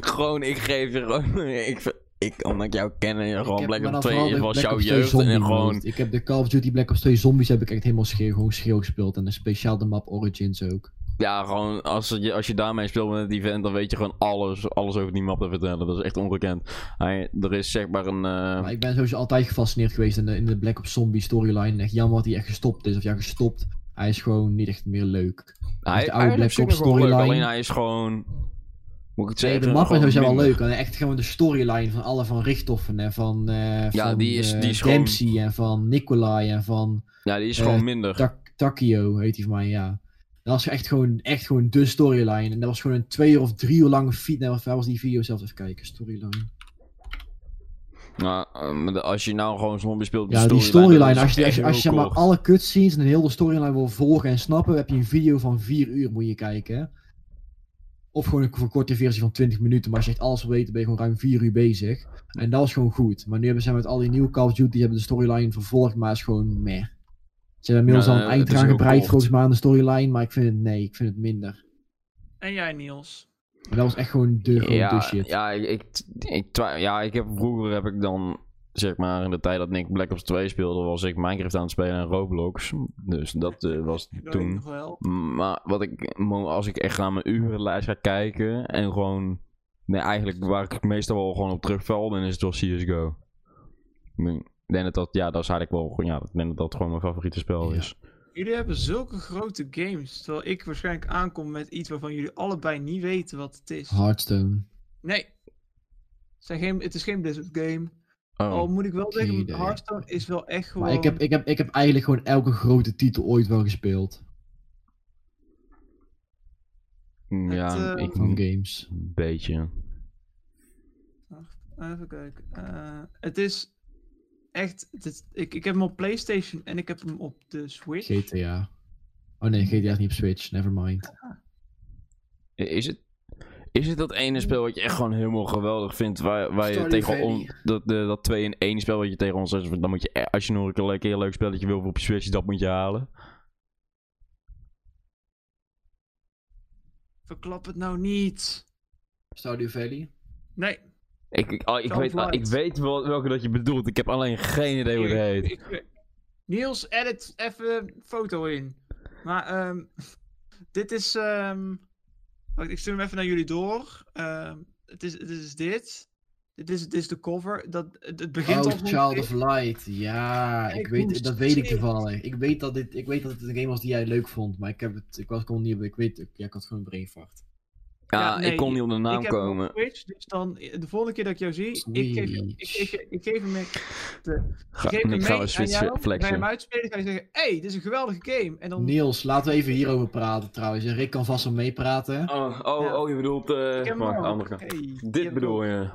[SPEAKER 3] gewoon, ik geef je gewoon... Ik, ver- ik, omdat ik jou ken en gewoon
[SPEAKER 1] Ik heb-
[SPEAKER 3] Black
[SPEAKER 1] maar
[SPEAKER 3] Ops
[SPEAKER 1] dan
[SPEAKER 3] 2
[SPEAKER 1] vooral
[SPEAKER 3] is
[SPEAKER 1] de
[SPEAKER 3] was
[SPEAKER 1] Black
[SPEAKER 3] jouw
[SPEAKER 1] Ops 2
[SPEAKER 3] jeugd. En
[SPEAKER 1] zombie
[SPEAKER 3] gewoon...
[SPEAKER 1] mode. Ik heb de Call of Duty Black Ops 2 zombies heb ik echt helemaal scheer, gewoon schreeuw gespeeld. En een speciaal de map Origins ook.
[SPEAKER 3] Ja, gewoon als je, als je daarmee speelt met het event, dan weet je gewoon alles, alles over die map te vertellen. Dat is echt ongekend. Hij, er is zeg maar een... eh,
[SPEAKER 1] Maar ik ben sowieso altijd gefascineerd geweest in de, in de Black Ops zombie storyline. En echt jammer dat hij echt gestopt is. Of ja, gestopt. Hij is gewoon niet echt meer leuk.
[SPEAKER 3] hij,
[SPEAKER 1] de oude
[SPEAKER 3] eigenlijk
[SPEAKER 1] Black
[SPEAKER 3] is hij
[SPEAKER 1] Ops
[SPEAKER 3] nog wel leuk,
[SPEAKER 1] storyline.
[SPEAKER 3] Alleen hij is gewoon... Moet ik het
[SPEAKER 1] Nee,
[SPEAKER 3] zeggen?
[SPEAKER 1] de map is
[SPEAKER 3] gewoon
[SPEAKER 1] sowieso wel
[SPEAKER 3] minder.
[SPEAKER 1] leuk. En echt gewoon de storyline van alle van Richthofen en van, eh
[SPEAKER 3] Ja,
[SPEAKER 1] van
[SPEAKER 3] die is-
[SPEAKER 1] eh,
[SPEAKER 3] die is gewoon-
[SPEAKER 1] Dempsey en van Nikolai en van
[SPEAKER 3] Ja, die is
[SPEAKER 1] Eh,
[SPEAKER 3] gewoon minder.
[SPEAKER 1] Tak- Takio, heet hij van mij, ja. Dat was echt gewoon, echt gewoon de storyline. En dat was gewoon een twee uur of drie uur lange feed. Nee, wat- waar was die video zelfs? Even kijken, storyline.
[SPEAKER 3] Nou, eh, maar de- als je nou gewoon zombie speelt,
[SPEAKER 1] Ja, die
[SPEAKER 3] dat
[SPEAKER 1] storyline.
[SPEAKER 3] is
[SPEAKER 1] Als je,
[SPEAKER 3] echt
[SPEAKER 1] als je, als je zeg
[SPEAKER 3] heel
[SPEAKER 1] maar
[SPEAKER 3] kort.
[SPEAKER 1] alle cutscenes en heel de storyline wil volgen en snappen, heb je een video van vier uur moet je kijken. hè. Of gewoon een korte versie van 20 minuten. Maar als je echt alles wil weten, ben je gewoon ruim vier uur bezig. En dat was gewoon goed. Maar nu hebben ze met al die nieuwe Call of Duty hebben de storyline vervolgd, maar is gewoon meh. Ze hebben inmiddels
[SPEAKER 3] Ja,
[SPEAKER 1] al
[SPEAKER 3] eh,
[SPEAKER 1] een
[SPEAKER 3] het
[SPEAKER 1] eind
[SPEAKER 3] is
[SPEAKER 1] eraan
[SPEAKER 3] heel
[SPEAKER 1] gebreid
[SPEAKER 3] kort.
[SPEAKER 1] volgens mij aan de storyline. Maar ik vind het nee, ik vind het minder.
[SPEAKER 2] En jij, Niels?
[SPEAKER 1] Maar dat was echt gewoon de, gewoon de
[SPEAKER 3] ja,
[SPEAKER 1] shit.
[SPEAKER 3] ja, ik, ik, ik twa- ja, ik heb vroeger heb ik dan, zeg maar, in de tijd dat Nick Black Ops 2 speelde, was ik Minecraft aan het spelen en Roblox. Dus dat eh, was
[SPEAKER 2] Dat weet ik
[SPEAKER 3] toen.
[SPEAKER 2] nog wel.
[SPEAKER 3] Maar wat ik, mo- als ik echt naar mijn urenlijst ga kijken en gewoon, nee, eigenlijk waar ik meestal wel gewoon op terugval, dan is het wel CSGO. Ik denk- ik denk dat dat, ja, dat is eigenlijk wel, gewoon- ja, ik denk dat dat gewoon mijn favoriete spel
[SPEAKER 1] Ja.
[SPEAKER 3] is.
[SPEAKER 2] Jullie hebben zulke grote games. Terwijl ik waarschijnlijk aankom met iets waarvan jullie allebei niet weten wat het is.
[SPEAKER 1] Hearthstone.
[SPEAKER 2] Nee. Het, zijn geen, het is geen Blizzard game.
[SPEAKER 3] Oh.
[SPEAKER 2] Al moet ik wel
[SPEAKER 1] geen
[SPEAKER 2] zeggen,
[SPEAKER 1] idee.
[SPEAKER 2] Hearthstone is wel echt gewoon...
[SPEAKER 1] Maar ik heb, ik, heb, ik heb eigenlijk gewoon elke grote titel ooit wel gespeeld.
[SPEAKER 3] Mm, ja,
[SPEAKER 2] eh,
[SPEAKER 3] ik
[SPEAKER 1] Van
[SPEAKER 3] een
[SPEAKER 1] games.
[SPEAKER 3] beetje.
[SPEAKER 2] Even kijken. Eh, het is echt... het is- ik, ik heb hem op Playstation en ik heb hem op de Switch.
[SPEAKER 1] GTA. Oh nee, GTA is niet op Switch, nevermind.
[SPEAKER 3] Is het, is het dat ene spel wat je echt gewoon helemaal geweldig vindt? Waar, waar je
[SPEAKER 1] Stardew
[SPEAKER 3] tegen
[SPEAKER 1] Valley.
[SPEAKER 3] on, dat, de, dat 2 in 1 spel wat je tegen ons zegt. Dan moet je, e- als je nog een keer een leuk spelletje wil op je Switch, dat moet je halen.
[SPEAKER 2] Verklap het nou niet.
[SPEAKER 1] Stardew Valley?
[SPEAKER 2] Nee.
[SPEAKER 3] Ik, ik, ah, ik,
[SPEAKER 2] Zelf
[SPEAKER 3] weet, ah, ik
[SPEAKER 2] light.
[SPEAKER 3] weet wel, welke dat je bedoelt. Ik heb alleen geen idee hoe het
[SPEAKER 2] Ik-
[SPEAKER 3] heet.
[SPEAKER 2] ik- Niels, edit even een foto in. Maar ehm, dit is. ehm, wacht, ik stuur hem even naar jullie door. Ehm, het, is, het is dit. Dit is, dit is de cover. Dat, het, het begint
[SPEAKER 1] Oh,
[SPEAKER 2] al.
[SPEAKER 1] Child of Light. Ja,
[SPEAKER 2] Ik
[SPEAKER 1] ik
[SPEAKER 2] moest
[SPEAKER 1] weet, dat weet ik
[SPEAKER 2] zeggen.
[SPEAKER 1] toevallig. Ik weet, dat dit, ik weet dat het een game was die jij leuk vond, maar ik heb het, ik was gewoon niet, ik weet, ik, ja, ik had gewoon een brainfart.
[SPEAKER 3] Ja,
[SPEAKER 2] Ja, nee,
[SPEAKER 3] Ah, ik kon niet op de
[SPEAKER 2] Ik
[SPEAKER 3] naam
[SPEAKER 2] heb hem op
[SPEAKER 3] komen.
[SPEAKER 2] Twitch, dus dan eh, de volgende keer dat ik jou zie, ik geef, ik, geef, je- ik geef hem mee.
[SPEAKER 3] Ga,
[SPEAKER 2] ik geef hem
[SPEAKER 3] ik ga
[SPEAKER 2] mee
[SPEAKER 3] een
[SPEAKER 2] aan
[SPEAKER 3] Switch
[SPEAKER 2] jou.
[SPEAKER 3] eh,
[SPEAKER 2] Ga je hem
[SPEAKER 3] flexen.
[SPEAKER 2] uitspelen? Ga je zeggen: hey, dit is een geweldige game. En dan.
[SPEAKER 1] Niels, laten we even hierover praten trouwens. En Rick kan vast wel meepraten.
[SPEAKER 3] Oh, oh,
[SPEAKER 2] Ja.
[SPEAKER 3] oh, je bedoelt...
[SPEAKER 2] Ik heb
[SPEAKER 3] eh
[SPEAKER 2] hem
[SPEAKER 3] wacht,
[SPEAKER 2] ook.
[SPEAKER 3] de andere kant.
[SPEAKER 2] Hey, je hebt
[SPEAKER 3] Dit
[SPEAKER 2] hem
[SPEAKER 3] bedoel
[SPEAKER 2] ook.
[SPEAKER 3] je.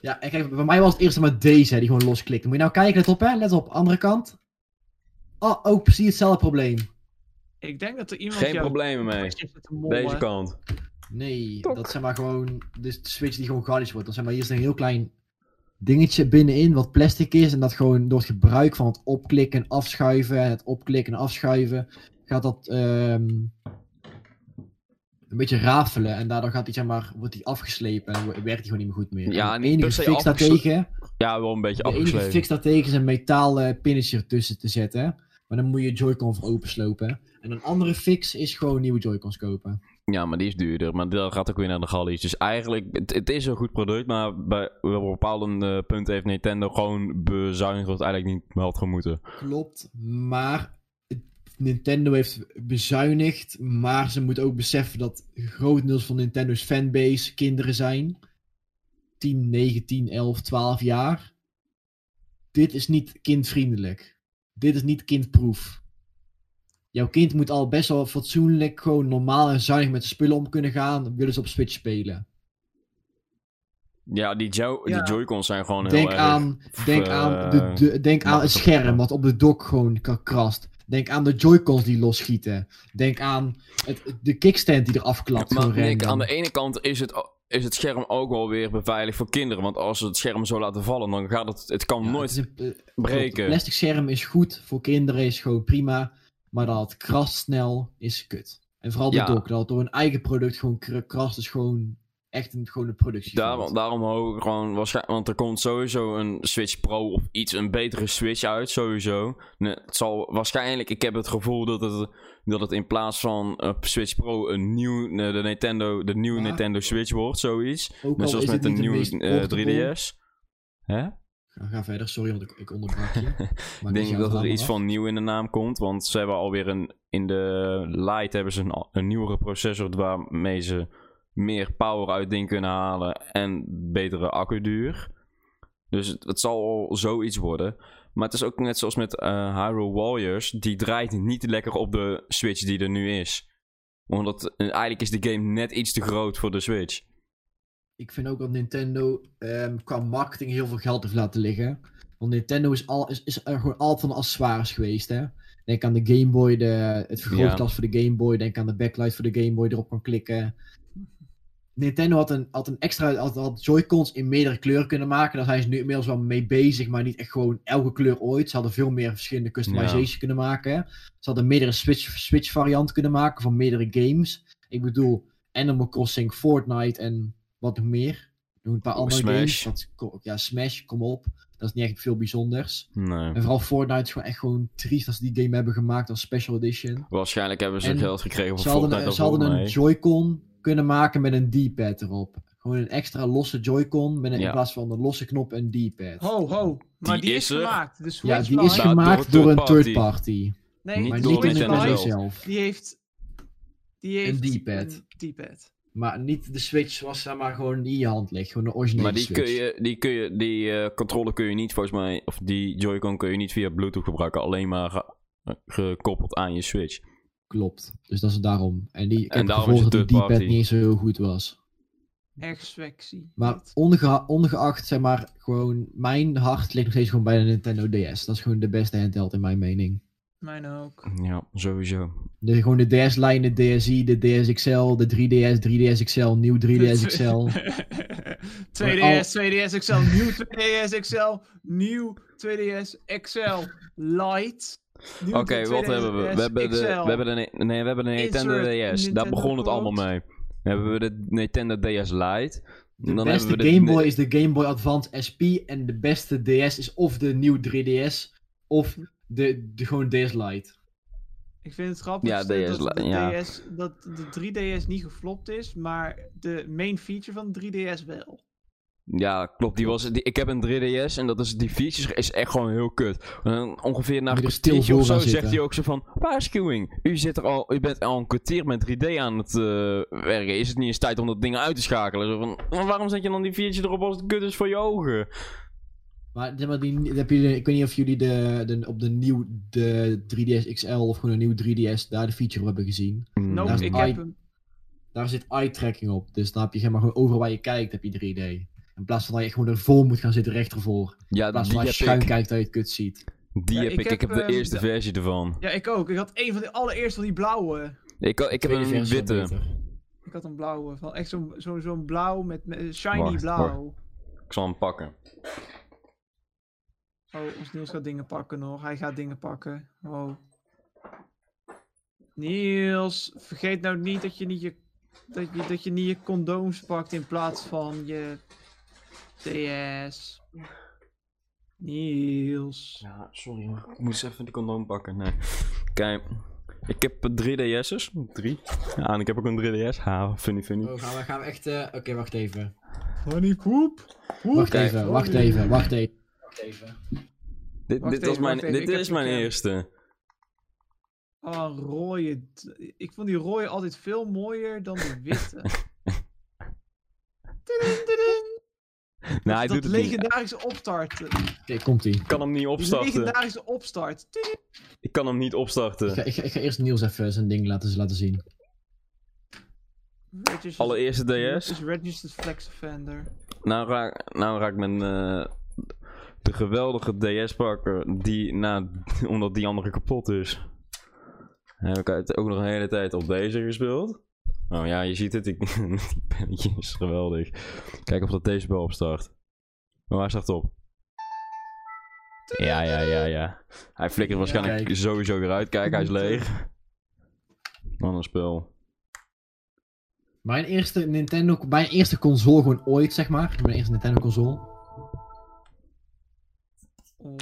[SPEAKER 1] Ja, en kijk, bij mij was het eerst maar deze hè, die gewoon losklikt. Moet je nou kijken, let op hè, let op, andere kant. Oh, ook precies hetzelfde probleem.
[SPEAKER 2] Ik denk dat er iemand.
[SPEAKER 3] Geen
[SPEAKER 2] jou-
[SPEAKER 3] problemen mee.
[SPEAKER 2] zit te mollen.
[SPEAKER 3] Deze kant.
[SPEAKER 1] Nee,
[SPEAKER 3] Tok.
[SPEAKER 1] dat zijn maar gewoon dus de switch die gewoon garnish wordt. Dat zijn maar hier is een heel klein dingetje binnenin wat plastic is en dat gewoon door het gebruik van het opklikken en afschuiven en het opklikken en afschuiven gaat dat ehm, een beetje rafelen en daardoor gaat die zeg maar wordt die afgeslepen en werkt die gewoon niet meer goed meer.
[SPEAKER 3] Ja,
[SPEAKER 1] En de
[SPEAKER 3] niet per
[SPEAKER 1] enige
[SPEAKER 3] se
[SPEAKER 1] fix
[SPEAKER 3] afgesle-
[SPEAKER 1] daartegen,
[SPEAKER 3] Ja, wel een beetje
[SPEAKER 1] de enige
[SPEAKER 3] afgesleven.
[SPEAKER 1] fix daartegen is een metaal eh, pinnetje ertussen te zetten. Maar dan moet je Joy-Con voor openslopen. En een andere fix is gewoon nieuwe Joy-Cons kopen.
[SPEAKER 3] Ja, maar die is duurder. Maar dat gaat ook weer naar de gallies. Dus eigenlijk, het, het is een goed product, maar bij wel op bepaalde eh, punten heeft Nintendo gewoon bezuinigd wat eigenlijk niet had gemoeten.
[SPEAKER 1] Klopt, maar het- Nintendo heeft bezuinigd. Maar ze moeten ook beseffen dat grotendeels van Nintendo's fanbase kinderen zijn. 10, 9, 10, 11, 12 jaar. Dit is niet kindvriendelijk. dit is niet kindproef. Jouw kind moet al best wel fatsoenlijk, gewoon normaal en zuinig met de spullen om kunnen gaan. Willen ze op Switch spelen.
[SPEAKER 3] Ja, die, jo
[SPEAKER 2] Ja.
[SPEAKER 3] die Joy-Cons zijn gewoon heel
[SPEAKER 1] Denk
[SPEAKER 3] erg...
[SPEAKER 1] aan, denk
[SPEAKER 3] eh,
[SPEAKER 1] aan, de, de- denk aan
[SPEAKER 3] maar
[SPEAKER 1] het
[SPEAKER 3] dat-
[SPEAKER 1] scherm wat op de dock gewoon ka- krast. Denk aan de Joy-Cons die losschieten. Denk aan het, de kickstand die eraf klapt.
[SPEAKER 3] Maar
[SPEAKER 1] gewoon
[SPEAKER 3] Nick,
[SPEAKER 1] random.
[SPEAKER 3] aan de ene kant is het, is het scherm ook wel weer beveiligd voor kinderen. Want als ze het scherm zo laten vallen, dan gaat het... Het kan
[SPEAKER 1] Ja,
[SPEAKER 3] nooit
[SPEAKER 1] het is een-
[SPEAKER 3] breken.
[SPEAKER 1] Het plastic scherm is goed voor kinderen, is gewoon prima. Maar dat krast snel is kut. En vooral de
[SPEAKER 3] Ja.
[SPEAKER 1] dok, dat het door een eigen product gewoon kr- krast, is gewoon echt een, gewoon een productie.
[SPEAKER 3] Daarom, daarom hou ik gewoon waarschijnlijk. Want er komt sowieso een Switch Pro of iets, een betere Switch uit, sowieso. Nee, het zal waarschijnlijk, ik heb het gevoel dat het, dat het in plaats van eh, Switch Pro een nieuw, eh, de Nintendo, de nieuwe
[SPEAKER 1] Ja.
[SPEAKER 3] Nintendo Switch wordt, zoiets.
[SPEAKER 1] Ook
[SPEAKER 3] Net
[SPEAKER 1] al
[SPEAKER 3] zoals
[SPEAKER 1] is het
[SPEAKER 3] met de
[SPEAKER 1] niet de
[SPEAKER 3] nieuwe
[SPEAKER 1] meest
[SPEAKER 3] eh,
[SPEAKER 1] portable.
[SPEAKER 3] 3DS. Hè?
[SPEAKER 1] Ga, ga verder, sorry, want ik, ik onderbrak je. Maar
[SPEAKER 3] Ik
[SPEAKER 1] ik
[SPEAKER 3] denk
[SPEAKER 1] was
[SPEAKER 3] dat er
[SPEAKER 1] helemaal
[SPEAKER 3] iets
[SPEAKER 1] af.
[SPEAKER 3] van nieuw in de naam komt, want ze hebben alweer een, in de Lite hebben ze een, een nieuwere processor waarmee ze meer power uit ding kunnen halen en betere accuduur. Dus het, het zal al zoiets worden. Maar het is ook net zoals met eh Hyrule Warriors, die draait niet lekker op de Switch die er nu is. Omdat eh, eigenlijk is de game net iets te groot voor de Switch.
[SPEAKER 1] Ik vind ook dat Nintendo ehm, qua marketing heel veel geld heeft laten liggen. Want Nintendo is, al, is, is er gewoon altijd van de accessoires geweest, hè. Denk aan de Game Boy, de, het vergrootglas voor de Game Boy. Denk aan de backlight voor de Game Boy, erop kan klikken. Nintendo had een, had een extra... Had, had Joy-Cons in meerdere kleuren kunnen maken. Daar zijn ze nu inmiddels wel mee bezig. Maar niet echt gewoon elke kleur ooit. Ze hadden veel meer verschillende customizations kunnen maken. Ze hadden meerdere Switch, Switch varianten kunnen maken van meerdere games. Ik bedoel, Animal Crossing, Fortnite en wat nog meer. Nog een paar andere
[SPEAKER 3] Oh, Smash.
[SPEAKER 1] games. Dat, ko- ja, Smash, kom op. Dat is niet echt veel bijzonders.
[SPEAKER 3] Nee.
[SPEAKER 1] En vooral Fortnite is gewoon echt gewoon triest als ze die game hebben gemaakt als special edition.
[SPEAKER 3] Waarschijnlijk hebben ze
[SPEAKER 1] En
[SPEAKER 3] geld gekregen
[SPEAKER 1] Ze
[SPEAKER 3] voor
[SPEAKER 1] hadden,
[SPEAKER 3] Fortnite.
[SPEAKER 1] ze
[SPEAKER 3] of
[SPEAKER 1] hadden een
[SPEAKER 3] Fortnite.
[SPEAKER 1] Joy-Con kunnen maken met een D-pad erop. Gewoon een extra losse Joy-Con met een,
[SPEAKER 3] Ja.
[SPEAKER 1] in plaats van een losse knop en D-pad.
[SPEAKER 2] Ho, ho. Maar
[SPEAKER 3] Die
[SPEAKER 2] die, is,
[SPEAKER 3] is er.
[SPEAKER 2] gemaakt. De Oh, Switch
[SPEAKER 1] ja, die
[SPEAKER 2] Lite-
[SPEAKER 1] is
[SPEAKER 3] Maar
[SPEAKER 1] gemaakt
[SPEAKER 3] Nou, door
[SPEAKER 1] door,
[SPEAKER 3] een
[SPEAKER 1] een third
[SPEAKER 3] party.
[SPEAKER 1] party.
[SPEAKER 2] Nee,
[SPEAKER 3] niet
[SPEAKER 1] Maar
[SPEAKER 2] de
[SPEAKER 3] door
[SPEAKER 1] niet
[SPEAKER 2] Switch
[SPEAKER 1] Nintendo
[SPEAKER 2] Lite,
[SPEAKER 3] zelf.
[SPEAKER 1] zelf.
[SPEAKER 2] Die heeft... Die
[SPEAKER 1] Een
[SPEAKER 2] heeft
[SPEAKER 1] D-pad.
[SPEAKER 2] een D-pad.
[SPEAKER 1] Maar niet de Switch zoals zeg maar gewoon die in je hand ligt. Gewoon de originele
[SPEAKER 3] Maar die
[SPEAKER 1] Switch.
[SPEAKER 3] kun je, die kun je, die eh, controller kun je niet volgens mij, of die Joy-Con kun je niet via Bluetooth gebruiken, alleen maar ge- eh, gekoppeld aan je Switch.
[SPEAKER 1] Klopt. Dus dat is daarom. En die, ik
[SPEAKER 3] En
[SPEAKER 1] heb het
[SPEAKER 3] daarom
[SPEAKER 1] gevoel
[SPEAKER 3] is het
[SPEAKER 1] dat de
[SPEAKER 3] third
[SPEAKER 1] D-pad
[SPEAKER 3] party.
[SPEAKER 1] niet eens zo heel goed was.
[SPEAKER 2] Erg sexy.
[SPEAKER 1] Maar ongeha- ongeacht, zeg maar, gewoon mijn hart ligt nog steeds gewoon bij de Nintendo DS. Dat is gewoon de beste handheld in mijn mening.
[SPEAKER 2] Mijn ook.
[SPEAKER 3] Ja, sowieso.
[SPEAKER 1] De, gewoon de DS-lijn, de DSi, de DS XL, de 3DS, 3DS XL, nieuw 3DS XL.
[SPEAKER 2] 2DS, 2DS XL, nieuw 2DS XL, nieuw 2DS XL Lite.
[SPEAKER 3] Oké, wat hebben we? We hebben, de, we hebben de, ne- nee, we hebben de Nintendo DS.
[SPEAKER 2] Insert
[SPEAKER 3] Daar
[SPEAKER 2] Nintendo
[SPEAKER 3] begon het allemaal
[SPEAKER 2] quote.
[SPEAKER 3] mee. Dan hebben we de Nintendo DS Lite.
[SPEAKER 1] De
[SPEAKER 3] dan
[SPEAKER 1] beste
[SPEAKER 3] hebben we de-
[SPEAKER 1] Game Boy is de Game Boy Advance SP en de beste DS is of de nieuw 3DS of de, de gewoon DS Lite.
[SPEAKER 2] Ik vind het grappig
[SPEAKER 3] Ja, DS
[SPEAKER 2] dat, de
[SPEAKER 3] ja.
[SPEAKER 2] DS, dat de 3DS niet geflopt is, maar de main feature van 3DS wel.
[SPEAKER 3] Ja, klopt. Die was, die, ik heb een 3DS en dat is, die features is echt gewoon heel kut. En ongeveer na
[SPEAKER 1] Moet
[SPEAKER 3] een
[SPEAKER 1] je er stil
[SPEAKER 3] kwartiertje
[SPEAKER 1] voor
[SPEAKER 3] of zo
[SPEAKER 1] gaan
[SPEAKER 3] zegt
[SPEAKER 1] zitten.
[SPEAKER 3] hij ook zo van... Waarschuwing, u, zit er al, u bent al een kwartier met 3D aan het eh, werken. Is het niet eens tijd om dat ding uit te schakelen? Zo van, "Maar waarom zet je dan die feature erop als het kut is voor je ogen?
[SPEAKER 1] Maar, zeg maar die, heb je, ik weet niet of jullie de, de, op de nieuw de 3DS XL of gewoon een nieuw 3DS daar de feature op hebben gezien.
[SPEAKER 3] Mm.
[SPEAKER 2] Nope,
[SPEAKER 3] Hmm. Nou,
[SPEAKER 1] dat is
[SPEAKER 2] ik
[SPEAKER 1] mooi.
[SPEAKER 2] heb hem.
[SPEAKER 1] Daar zit eye-tracking op, dus dan heb je zeg maar gewoon overal waar je kijkt heb je 3D. In plaats van dat je echt gewoon ervoor moet gaan zitten, recht ervoor.
[SPEAKER 3] Ja,
[SPEAKER 1] In plaats
[SPEAKER 3] die
[SPEAKER 1] van als
[SPEAKER 3] heb
[SPEAKER 1] je schuin
[SPEAKER 3] ik.
[SPEAKER 1] kijkt dat je het kut ziet.
[SPEAKER 3] Die
[SPEAKER 2] Ja,
[SPEAKER 3] heb ik.
[SPEAKER 2] ik
[SPEAKER 3] Ik heb,
[SPEAKER 2] heb,
[SPEAKER 3] de
[SPEAKER 2] ehm,
[SPEAKER 3] eerste
[SPEAKER 2] de-
[SPEAKER 3] versie ervan.
[SPEAKER 2] Ja, ik ook. Ik had een van de allereerste van die blauwe.
[SPEAKER 3] Ik, ik heb
[SPEAKER 1] Tweede
[SPEAKER 3] een
[SPEAKER 1] versie is wel
[SPEAKER 3] witte.
[SPEAKER 1] beter.
[SPEAKER 2] Ik had een blauwe. Van echt zo'n zo'n zo'n blauw met, met- eh, shiny
[SPEAKER 3] Wacht,
[SPEAKER 2] blauw.
[SPEAKER 3] Ik zal hem pakken.
[SPEAKER 2] Oh, ons Niels gaat dingen pakken hoor. Hij gaat dingen pakken. Oh. Niels, vergeet nou niet dat je niet je, dat je, dat je, niet je condooms pakt in plaats van je DS. Niels.
[SPEAKER 3] Ja, sorry maar ik moest even de condoom pakken. Nee. Kijk, ik heb eh, drie DS'ers. Drie. Ja, en ik heb ook een 3DS. Ha, funny funny.
[SPEAKER 1] Oh, gaan we, gaan we echt... eh, Oké, wacht even.
[SPEAKER 2] Honey poep.
[SPEAKER 1] Wacht
[SPEAKER 3] Oké.
[SPEAKER 1] even, wacht even, wacht even. Wacht even.
[SPEAKER 3] Dit,
[SPEAKER 2] Wacht
[SPEAKER 3] dit, was
[SPEAKER 2] even,
[SPEAKER 3] mijn,
[SPEAKER 2] wacht even,
[SPEAKER 3] dit
[SPEAKER 2] ik heb
[SPEAKER 3] is mijn
[SPEAKER 2] een keer-
[SPEAKER 3] eerste.
[SPEAKER 2] Ah, rode. d- Ik vond die rode altijd veel mooier dan de witte. Tudum, tudum.
[SPEAKER 3] Nou, hij
[SPEAKER 2] dat
[SPEAKER 3] doet het niet.
[SPEAKER 2] legendarische opstart. Die
[SPEAKER 1] Oké, komt ie.
[SPEAKER 3] Ik kan hem niet opstarten.
[SPEAKER 2] legendarische opstart.
[SPEAKER 3] Ik kan hem niet
[SPEAKER 1] Ik ga,
[SPEAKER 3] opstarten.
[SPEAKER 1] ik, ga, ik ga eerst Niels even zijn ding laten, laten zien.
[SPEAKER 2] Registered-
[SPEAKER 3] Allereerste DS.
[SPEAKER 2] is registered flex offender.
[SPEAKER 3] Nou raak, nou raak ik mijn... eh, de geweldige DS pakken. Die, na, omdat die andere kapot is. Dan heb ik het ook nog een hele tijd op deze gespeeld. Nou ja, je ziet het. Ik, die pennetje is geweldig. Kijk of dat deze wel opstart. Maar waar start op? Ja, ja, ja, ja. Hij flikkert waarschijnlijk
[SPEAKER 1] Kijk. eh.
[SPEAKER 3] sowieso weer uit. Kijk, hij is leeg. Wat een spel.
[SPEAKER 1] Mijn eerste Nintendo, mijn eerste console gewoon ooit, zeg maar. Mijn eerste Nintendo console.
[SPEAKER 2] Oh.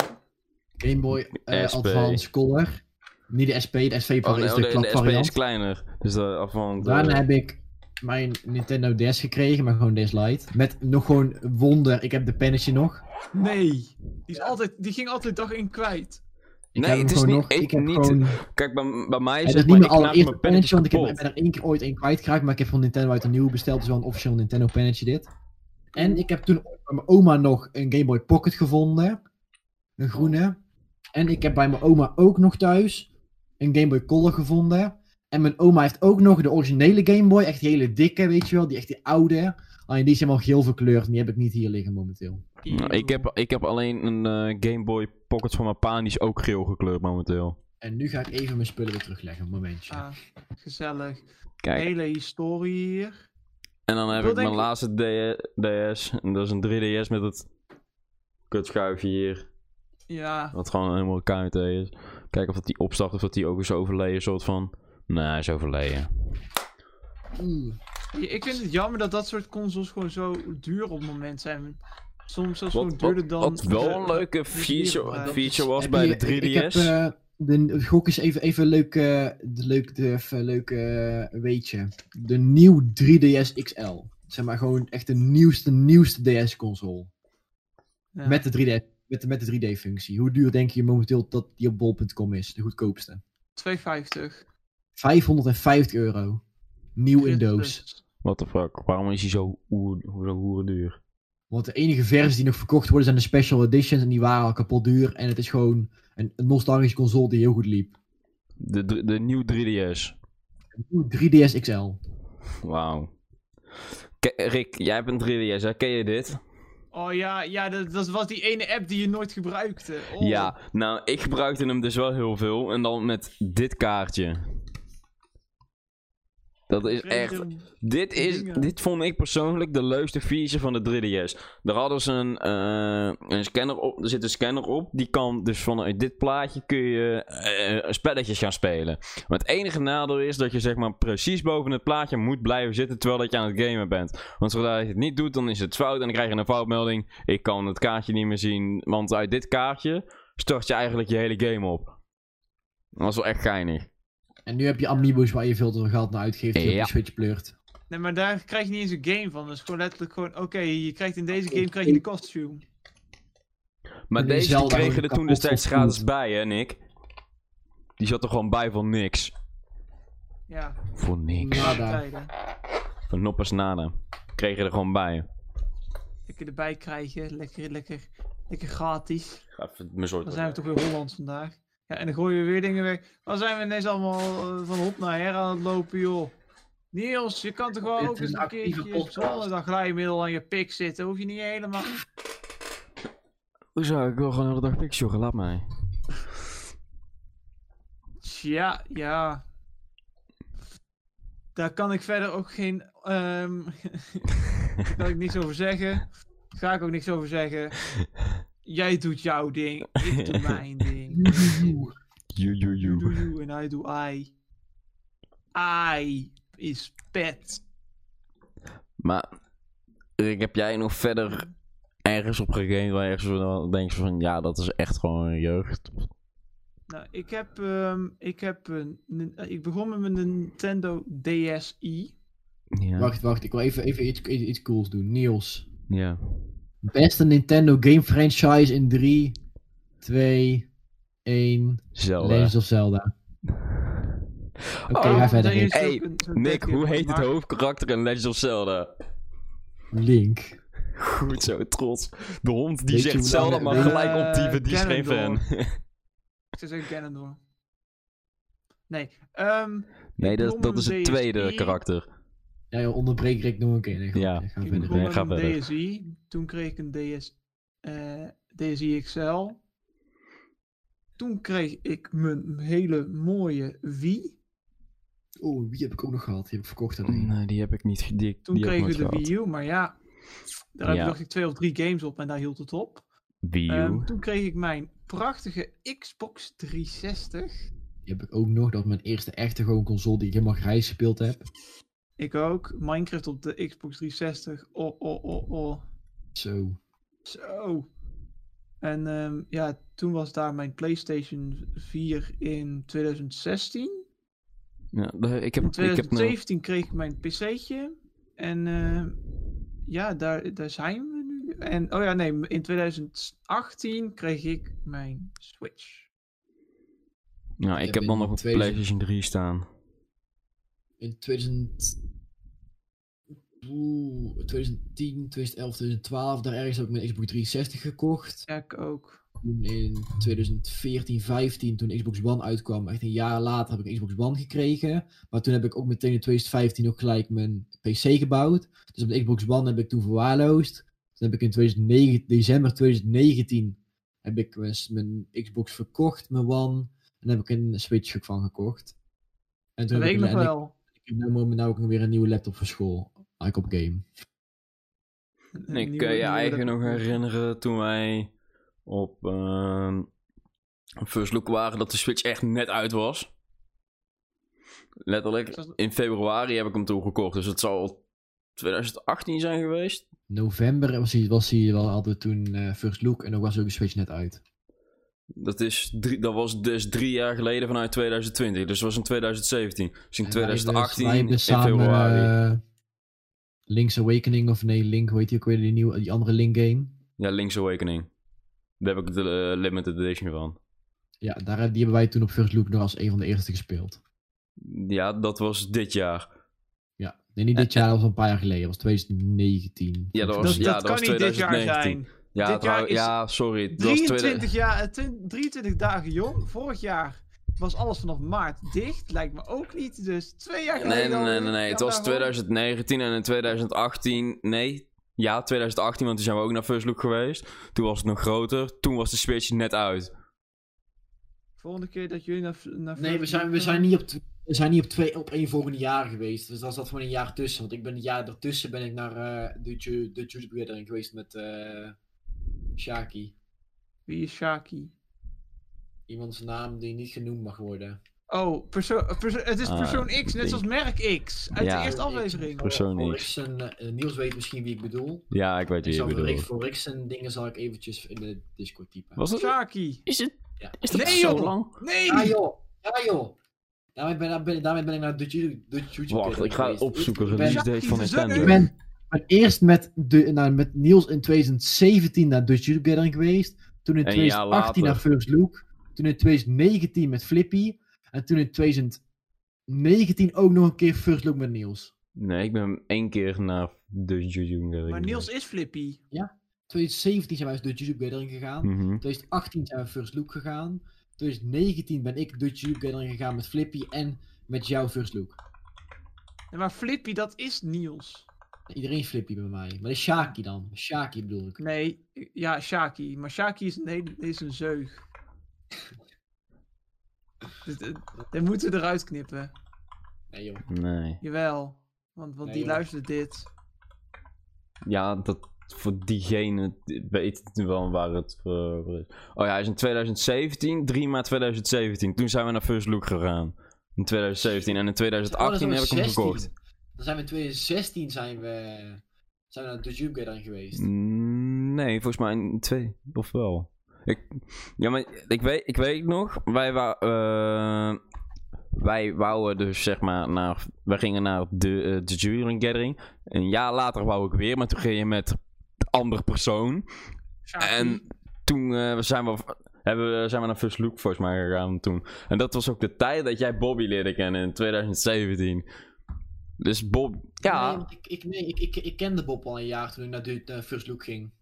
[SPEAKER 1] Game Boy eh,
[SPEAKER 3] SP.
[SPEAKER 1] Advance Color. Niet de SP, de SP
[SPEAKER 3] Oh,
[SPEAKER 1] van is
[SPEAKER 3] oh,
[SPEAKER 1] de
[SPEAKER 3] de, de SP is
[SPEAKER 1] klapvariant.
[SPEAKER 3] kleiner. Dus de afhand.
[SPEAKER 1] Daarna heb ik mijn Nintendo DS gekregen, maar gewoon DS Lite. Met nog gewoon wonder, ik heb de pennetje nog.
[SPEAKER 2] Nee. Die, is altijd, die ging altijd dag in kwijt.
[SPEAKER 1] Ik
[SPEAKER 3] Nee,
[SPEAKER 1] heb hem
[SPEAKER 3] het is
[SPEAKER 1] gewoon
[SPEAKER 3] niet.
[SPEAKER 1] nog.
[SPEAKER 3] Ik
[SPEAKER 1] heb
[SPEAKER 3] niet
[SPEAKER 1] gewoon...
[SPEAKER 3] Kijk, bij, bij mij is
[SPEAKER 1] Het is
[SPEAKER 3] het.
[SPEAKER 1] niet mijn
[SPEAKER 3] maar ik knaag
[SPEAKER 1] allereerste pennetje,
[SPEAKER 3] mijn pennetjes
[SPEAKER 1] want ik heb, ik
[SPEAKER 3] kapot.
[SPEAKER 1] ben er één keer ooit één kwijtgeraakt. Maar ik heb van Nintendo uit een nieuwe besteld, dus wel een officieel Nintendo pennetje dit. En ik heb toen ooit bij mijn oma nog een Game Boy Pocket gevonden. Een groene. En ik heb bij mijn oma ook nog thuis een Game Boy Color gevonden. En mijn oma heeft ook nog de originele Game Boy. Echt die hele dikke, weet je wel. Die echt die oude. Alleen die is helemaal geel verkleurd. En die heb ik niet hier liggen momenteel.
[SPEAKER 3] Nou, Ik heb, ik heb alleen een eh, Game Boy Pocket van mijn pa. en Die is ook geel gekleurd momenteel.
[SPEAKER 1] En nu ga ik even mijn spullen weer terugleggen. Een momentje.
[SPEAKER 2] Ah, gezellig.
[SPEAKER 3] Kijk,
[SPEAKER 2] Hele historie hier.
[SPEAKER 3] en dan heb
[SPEAKER 2] wil
[SPEAKER 3] ik mijn
[SPEAKER 2] denk-
[SPEAKER 3] laatste D- DS. En dat is een 3DS met het kutschuifje hier.
[SPEAKER 2] Ja.
[SPEAKER 3] Wat gewoon helemaal KUT is. Kijken of dat die opstart of dat die ook is overleden, soort van. Nee, hij is overleden.
[SPEAKER 1] Oeh.
[SPEAKER 2] Ja, Ik vind het jammer dat dat soort consoles gewoon zo duur op het moment zijn. Soms zelfs gewoon
[SPEAKER 3] Wat, wat,
[SPEAKER 2] duurder dan...
[SPEAKER 3] wat wel een
[SPEAKER 2] de-
[SPEAKER 3] leuke feature,
[SPEAKER 2] eh,
[SPEAKER 3] feature was
[SPEAKER 1] Heb
[SPEAKER 3] bij
[SPEAKER 1] je-
[SPEAKER 3] de 3DS.
[SPEAKER 1] Ik heb, eh, de gok is even, even leuk, eh, de leuk, de, even leuk eh, weetje. De nieuw 3DS XL. Zeg maar gewoon echt de nieuwste, nieuwste DS-console.
[SPEAKER 2] ja.
[SPEAKER 1] Met de 3D. Met de, met de 3D-functie. Hoe duur denk je momenteel dat die op bol.com is? De goedkoopste.
[SPEAKER 2] 2,50.
[SPEAKER 1] 550 euro. Nieuw in doos.
[SPEAKER 2] Christus.
[SPEAKER 3] What the fuck? Waarom is hij zo oer, zo duur?
[SPEAKER 1] Want de enige versies die nog verkocht worden zijn de special editions. En die waren al kapot duur. En het is gewoon een, een nostalgische console die heel goed liep.
[SPEAKER 3] De, de, de nieuwe 3DS.
[SPEAKER 1] Een nieuw 3DS XL.
[SPEAKER 3] Wauw. Ke- Rick, jij hebt een 3DS, hè? Ken je dit?
[SPEAKER 2] Oh ja, ja dat, dat was die ene app die je nooit gebruikte. Oh.
[SPEAKER 3] Ja, nou, ik gebruikte hem dus wel heel veel. En dan met dit kaartje. Dat is echt...
[SPEAKER 2] Random.
[SPEAKER 3] Dit, is,
[SPEAKER 2] dingen.
[SPEAKER 3] dit vond ik persoonlijk de leukste feature van de 3DS. Daar hadden ze een, eh, een scanner op. Er zit een scanner op. Die kan dus vanuit dit plaatje kun je eh, spelletjes gaan spelen. Maar het enige nadeel is dat je zeg maar precies boven het plaatje moet blijven zitten terwijl dat je aan het gamen bent. Want zodra je het niet doet, dan is het fout en dan krijg je een foutmelding. Ik kan het kaartje niet meer zien, want uit dit kaartje stort je eigenlijk je hele game op. Dat was wel echt geinig.
[SPEAKER 1] En nu heb je amiibo's waar je veel te veel geld naar uitgeeft die
[SPEAKER 3] Ja.
[SPEAKER 1] op de Switch pleurt.
[SPEAKER 2] Nee, maar daar krijg je niet eens een game van. Dat is gewoon letterlijk gewoon... Oké, je krijgt in deze game krijg je de costume.
[SPEAKER 3] Maar
[SPEAKER 1] En die
[SPEAKER 3] deze die
[SPEAKER 1] Zelda
[SPEAKER 3] kregen
[SPEAKER 1] gewoon
[SPEAKER 3] er toen
[SPEAKER 1] kapot
[SPEAKER 3] destijds
[SPEAKER 1] vervoerd.
[SPEAKER 3] gratis bij, hè, Nick? Die zat er gewoon bij voor niks.
[SPEAKER 2] Ja,
[SPEAKER 3] Voor niks.
[SPEAKER 1] Ja. Nada.
[SPEAKER 2] tijden.
[SPEAKER 3] Voor noppers nada. Kregen er gewoon bij.
[SPEAKER 2] Lekker erbij krijgen. Lekker, lekker, lekker gratis.
[SPEAKER 3] Ga even mijn soort.
[SPEAKER 2] Dan zijn we toch weer Hollands vandaag. Ja, en dan gooien we weer dingen weg. Dan zijn we ineens allemaal eh, van hop naar her aan het lopen, joh. Niels, je kan toch wel
[SPEAKER 1] Dit
[SPEAKER 2] ook
[SPEAKER 1] is
[SPEAKER 2] eens
[SPEAKER 1] een
[SPEAKER 2] een
[SPEAKER 1] actieve
[SPEAKER 2] keertje
[SPEAKER 1] podcast.
[SPEAKER 2] zonder dat glijmiddel aan je pik zitten. Hoef je niet helemaal...
[SPEAKER 3] Hoezo? Ik wil gewoon de hele dag pik joggen, laat mij.
[SPEAKER 2] Tja, ja. Daar kan ik verder ook geen. ehm daar kan ik niks over zeggen. Ga ik ook niks over zeggen. Jij doet jouw ding. Ik doe mijn ding.
[SPEAKER 3] Joe, joe,
[SPEAKER 2] You do
[SPEAKER 3] joe.
[SPEAKER 2] you en I do I. I is pet.
[SPEAKER 3] Maar, Rick, heb jij nog verder ergens op gegamed waar je ergens van denkt van, ja, dat is echt gewoon een jeugd?
[SPEAKER 2] Nou, ik heb, ehm, ik heb een, een- ik begon met mijn Nintendo DSi.
[SPEAKER 3] Ja.
[SPEAKER 1] Wacht, wacht, ik wil even, even iets, iets, iets cools doen. Niels.
[SPEAKER 3] Ja.
[SPEAKER 1] Beste Nintendo game franchise in 3, 2, 1.
[SPEAKER 3] Zelda.
[SPEAKER 1] Legends of Zelda. Oké,
[SPEAKER 3] Oh,
[SPEAKER 1] ga verder.
[SPEAKER 2] er is
[SPEAKER 1] Rick.
[SPEAKER 3] Hey,
[SPEAKER 2] ook een- zo'n
[SPEAKER 3] Nick,
[SPEAKER 2] tekje
[SPEAKER 3] hoe
[SPEAKER 2] van
[SPEAKER 3] heet het
[SPEAKER 2] Mario.
[SPEAKER 3] hoofdkarakter in Legend of Zelda?
[SPEAKER 1] Link.
[SPEAKER 3] Goed zo, trots. De hond die
[SPEAKER 1] Weet je
[SPEAKER 3] zegt
[SPEAKER 1] hoe
[SPEAKER 3] zelden,
[SPEAKER 1] lang-
[SPEAKER 3] maar
[SPEAKER 1] weet-
[SPEAKER 3] gelijk optieven, die is geen
[SPEAKER 2] Ganondorf.
[SPEAKER 3] fan.
[SPEAKER 2] Ik zou zeggen Ganondorf. Nee, ehm,
[SPEAKER 3] Nee, dat, dat is
[SPEAKER 2] Blommen
[SPEAKER 3] het tweede
[SPEAKER 2] DSP.
[SPEAKER 3] karakter.
[SPEAKER 1] Ja, joh, onderbreek Rick nog een keer. Nee, goed,
[SPEAKER 3] Ja.
[SPEAKER 1] ik ga
[SPEAKER 2] ik
[SPEAKER 1] verder.
[SPEAKER 2] begon
[SPEAKER 3] Nee,
[SPEAKER 2] met
[SPEAKER 3] ga
[SPEAKER 2] een
[SPEAKER 3] verder.
[SPEAKER 2] DSI. Toen kreeg ik een DS, eh, DSI XL. Toen kreeg ik mijn hele mooie Wii.
[SPEAKER 1] Oh, wie heb ik ook nog gehad? Die heb ik verkocht aan één.
[SPEAKER 3] Nee, die heb ik niet. ge- Die,
[SPEAKER 2] Toen
[SPEAKER 3] die heb ik
[SPEAKER 2] kregen we
[SPEAKER 3] nooit
[SPEAKER 2] de
[SPEAKER 3] gehad.
[SPEAKER 2] Wii U, maar ja, daar heb
[SPEAKER 3] Ja.
[SPEAKER 2] ik dacht ik twee of drie games op en daar hield het op.
[SPEAKER 3] Wii U.
[SPEAKER 2] Ehm, toen kreeg ik mijn prachtige Xbox 360.
[SPEAKER 1] Die heb ik ook nog. Dat was mijn eerste echte gewoon console die ik helemaal grijs gespeeld heb.
[SPEAKER 2] Ik ook. Minecraft op de Xbox 360. Oh, oh, oh, oh.
[SPEAKER 1] Zo.
[SPEAKER 2] Zo. En ehm, ja, toen was daar mijn PlayStation 4 in 2016.
[SPEAKER 3] Ja, de- ik heb,
[SPEAKER 2] In
[SPEAKER 3] ik heb een,
[SPEAKER 2] 2017 kreeg ik mijn PC'tje. En ehm, ja, daar, daar zijn we nu. En oh ja, nee, in 2018 kreeg ik mijn Switch.
[SPEAKER 3] ja, ik
[SPEAKER 1] heb
[SPEAKER 3] heb dan
[SPEAKER 1] in
[SPEAKER 3] nog een
[SPEAKER 1] 2000
[SPEAKER 3] PlayStation 3 staan.
[SPEAKER 1] In 2000... Oeh, 2010, 2011, 2012, daar ergens heb ik mijn Xbox 360 gekocht.
[SPEAKER 2] Ja, ik ook.
[SPEAKER 1] Toen in 2014, 15, toen Xbox One uitkwam, echt een jaar later heb ik een Xbox One gekregen. Maar toen heb ik ook meteen in 2015 ook gelijk mijn PC gebouwd. Dus mijn Xbox One heb ik toen verwaarloosd. Toen heb ik in 2009, december 2019 heb ik mijn s- mijn Xbox verkocht, mijn One. En daar heb ik een Switch ook van gekocht. En
[SPEAKER 2] Dat
[SPEAKER 1] heb
[SPEAKER 2] weet ik
[SPEAKER 1] een-
[SPEAKER 2] nog
[SPEAKER 1] en
[SPEAKER 2] wel.
[SPEAKER 1] Ik heb nou nou ook weer een nieuwe laptop voor school. Ik op game.
[SPEAKER 3] Ik kan je eigenlijk nog herinneren toen wij op ehm, First Look waren dat de Switch echt net uit was. Letterlijk,
[SPEAKER 2] Dat was-
[SPEAKER 3] in februari heb ik hem toen gekocht, dus het zal 2018 zijn geweest.
[SPEAKER 1] November was hij, was hij wel hadden we toen eh, First Look en ook was ook de Switch net uit.
[SPEAKER 3] Dat, is drie, dat was dus drie jaar geleden vanuit 2020, dus dat was in 2017. Dus in
[SPEAKER 1] En
[SPEAKER 3] 2018
[SPEAKER 1] wij hebben
[SPEAKER 3] in
[SPEAKER 1] samen,
[SPEAKER 3] februari.
[SPEAKER 1] eh, Link's Awakening, of nee, Link, hoe heet die ook weer, die, nieuwe, die andere Link game.
[SPEAKER 3] Ja, Link's Awakening. Daar heb ik de eh, limited edition van.
[SPEAKER 1] Ja, daar, die hebben wij toen op First Look nog als een van de eerste gespeeld.
[SPEAKER 3] Ja, dat was dit jaar.
[SPEAKER 1] Ja, nee, niet dit jaar, dat was een paar jaar geleden, dat was 2019.
[SPEAKER 3] Eh, Ja, dat
[SPEAKER 2] Dat,
[SPEAKER 3] was-
[SPEAKER 2] dat
[SPEAKER 3] ja,
[SPEAKER 2] kan
[SPEAKER 3] was
[SPEAKER 2] niet dit jaar
[SPEAKER 3] 2019.
[SPEAKER 2] zijn.
[SPEAKER 3] Ja,
[SPEAKER 2] Dit jaar
[SPEAKER 3] trouw-
[SPEAKER 2] is
[SPEAKER 3] ja sorry. dat was 20
[SPEAKER 2] 23, jaar, eh, twin- 23 dagen jong. Vorig jaar was alles vanaf maart dicht. Lijkt me ook niet. Dus twee jaar
[SPEAKER 3] Nee,
[SPEAKER 2] geleden.
[SPEAKER 3] nee, nee,
[SPEAKER 2] alweer.
[SPEAKER 3] nee, nee.
[SPEAKER 2] Ja,
[SPEAKER 3] Het was
[SPEAKER 2] daarom.
[SPEAKER 3] 2019 en in 2018. Nee. Ja, 2018, want toen zijn we ook naar First Look geweest. Toen was het nog groter. Toen was de Switch net uit.
[SPEAKER 2] Volgende keer dat jullie naar. naar
[SPEAKER 1] Nee, we zijn, we zijn niet op, tw- we zijn niet op, twee, op één volgende jaar geweest, dus daar zat gewoon een jaar tussen. Want ik ben een jaar daartussen ben ik naar eh, de, Ju- de Juice Gathering geweest met eh Shaki.
[SPEAKER 2] Wie is Shaki?
[SPEAKER 1] Iemands naam die niet genoemd mag worden.
[SPEAKER 2] Oh, persoon, perso het is
[SPEAKER 3] Ah,
[SPEAKER 2] persoon X,
[SPEAKER 3] ding.
[SPEAKER 2] net zoals merk X. Uit
[SPEAKER 3] Ja.
[SPEAKER 2] de eerste aflevering.
[SPEAKER 3] Persoon
[SPEAKER 1] Voor
[SPEAKER 3] X.
[SPEAKER 1] Rickson, eh, Niels weet misschien wie ik bedoel.
[SPEAKER 3] Ja, ik weet
[SPEAKER 1] Ik
[SPEAKER 3] wie je
[SPEAKER 1] zal voor, Rick,
[SPEAKER 3] bedoelt.
[SPEAKER 1] voor Rickson dingen zal ik eventjes in de Discord typen.
[SPEAKER 3] Was het?
[SPEAKER 2] Shaki.
[SPEAKER 3] Is het?
[SPEAKER 1] Ja.
[SPEAKER 3] Is dat
[SPEAKER 2] Nee,
[SPEAKER 3] zo
[SPEAKER 2] joh.
[SPEAKER 3] lang? Ah,
[SPEAKER 2] Nee!
[SPEAKER 1] Ja joh, ja joh. Daarmee ben, daar ben- daarmee ben ik naar de Ju- de Juice
[SPEAKER 3] Wacht, ik ga
[SPEAKER 1] geweest.
[SPEAKER 3] opzoeken.
[SPEAKER 1] Ik
[SPEAKER 3] Release
[SPEAKER 1] ben,
[SPEAKER 3] date van
[SPEAKER 2] Jackie, ze zijn
[SPEAKER 1] ik
[SPEAKER 3] Nintendo.
[SPEAKER 1] ben, ben eerst met, de, nou, met Niels in 2017 naar de Juice Gathering geweest. Toen in
[SPEAKER 3] Een jaar
[SPEAKER 1] 2018 naar
[SPEAKER 3] later.
[SPEAKER 1] First Look. Toen in 2019 met Flippy. En toen in 2019 ook nog een keer First Look met Niels.
[SPEAKER 3] Nee, ik ben één keer naar de Juju
[SPEAKER 2] Maar Niels is Flippy.
[SPEAKER 1] 2017 zijn wij naar de Juice Gathering gegaan.
[SPEAKER 3] Hm. Mhm,
[SPEAKER 1] 2018 zijn we First Look gegaan. 2019 ben ik Dutch Youth Gathering gegaan met Flippy en met jou First Look.
[SPEAKER 2] Ja, maar Flippy, dat is Niels.
[SPEAKER 1] Iedereen is Flippy bij mij. Maar dat is Shaki dan. Shaki bedoel ik.
[SPEAKER 2] Nee, ja, Shaki. Maar Shaki is een, hele- is een zeug. Dus, eh, dat moeten we eruit knippen.
[SPEAKER 1] Nee joh.
[SPEAKER 3] Nee.
[SPEAKER 2] Jawel. Want, want
[SPEAKER 1] Nee,
[SPEAKER 2] die
[SPEAKER 1] joh.
[SPEAKER 2] luistert dit.
[SPEAKER 3] Ja, dat voor diegene weet het wel waar het voor voor is. Oh ja, hij is in 2017, 3 maart 2017. Toen zijn we naar First Look gegaan. In 2017 en in
[SPEAKER 1] Oh, dat
[SPEAKER 3] 2018
[SPEAKER 1] is
[SPEAKER 3] heb ik hem
[SPEAKER 1] 16.
[SPEAKER 3] gekocht.
[SPEAKER 1] Dan zijn we in 2016 zijn we, zijn we naar Dutch Youth Gathering geweest.
[SPEAKER 3] Mm, Nee, volgens mij in twee, of wel. Ik, ja, maar ik weet, ik weet nog, wij, wa- eh, wij wouden dus zeg maar naar, wij gingen naar de, eh, de Jury Gathering. Een jaar later wou ik weer, maar toen ging je met een andere persoon.
[SPEAKER 2] Shaki.
[SPEAKER 3] En toen eh, we zijn, we, hebben, we- zijn we naar First Look volgens mij gegaan toen. En dat was ook de tijd dat jij Bobby leerde kennen in 2017. Dus Bob,
[SPEAKER 1] Nee,
[SPEAKER 3] ja.
[SPEAKER 1] want ik, ik, nee, ik, ik, ik kende Bob al een jaar toen ik naar de eh, First Look ging.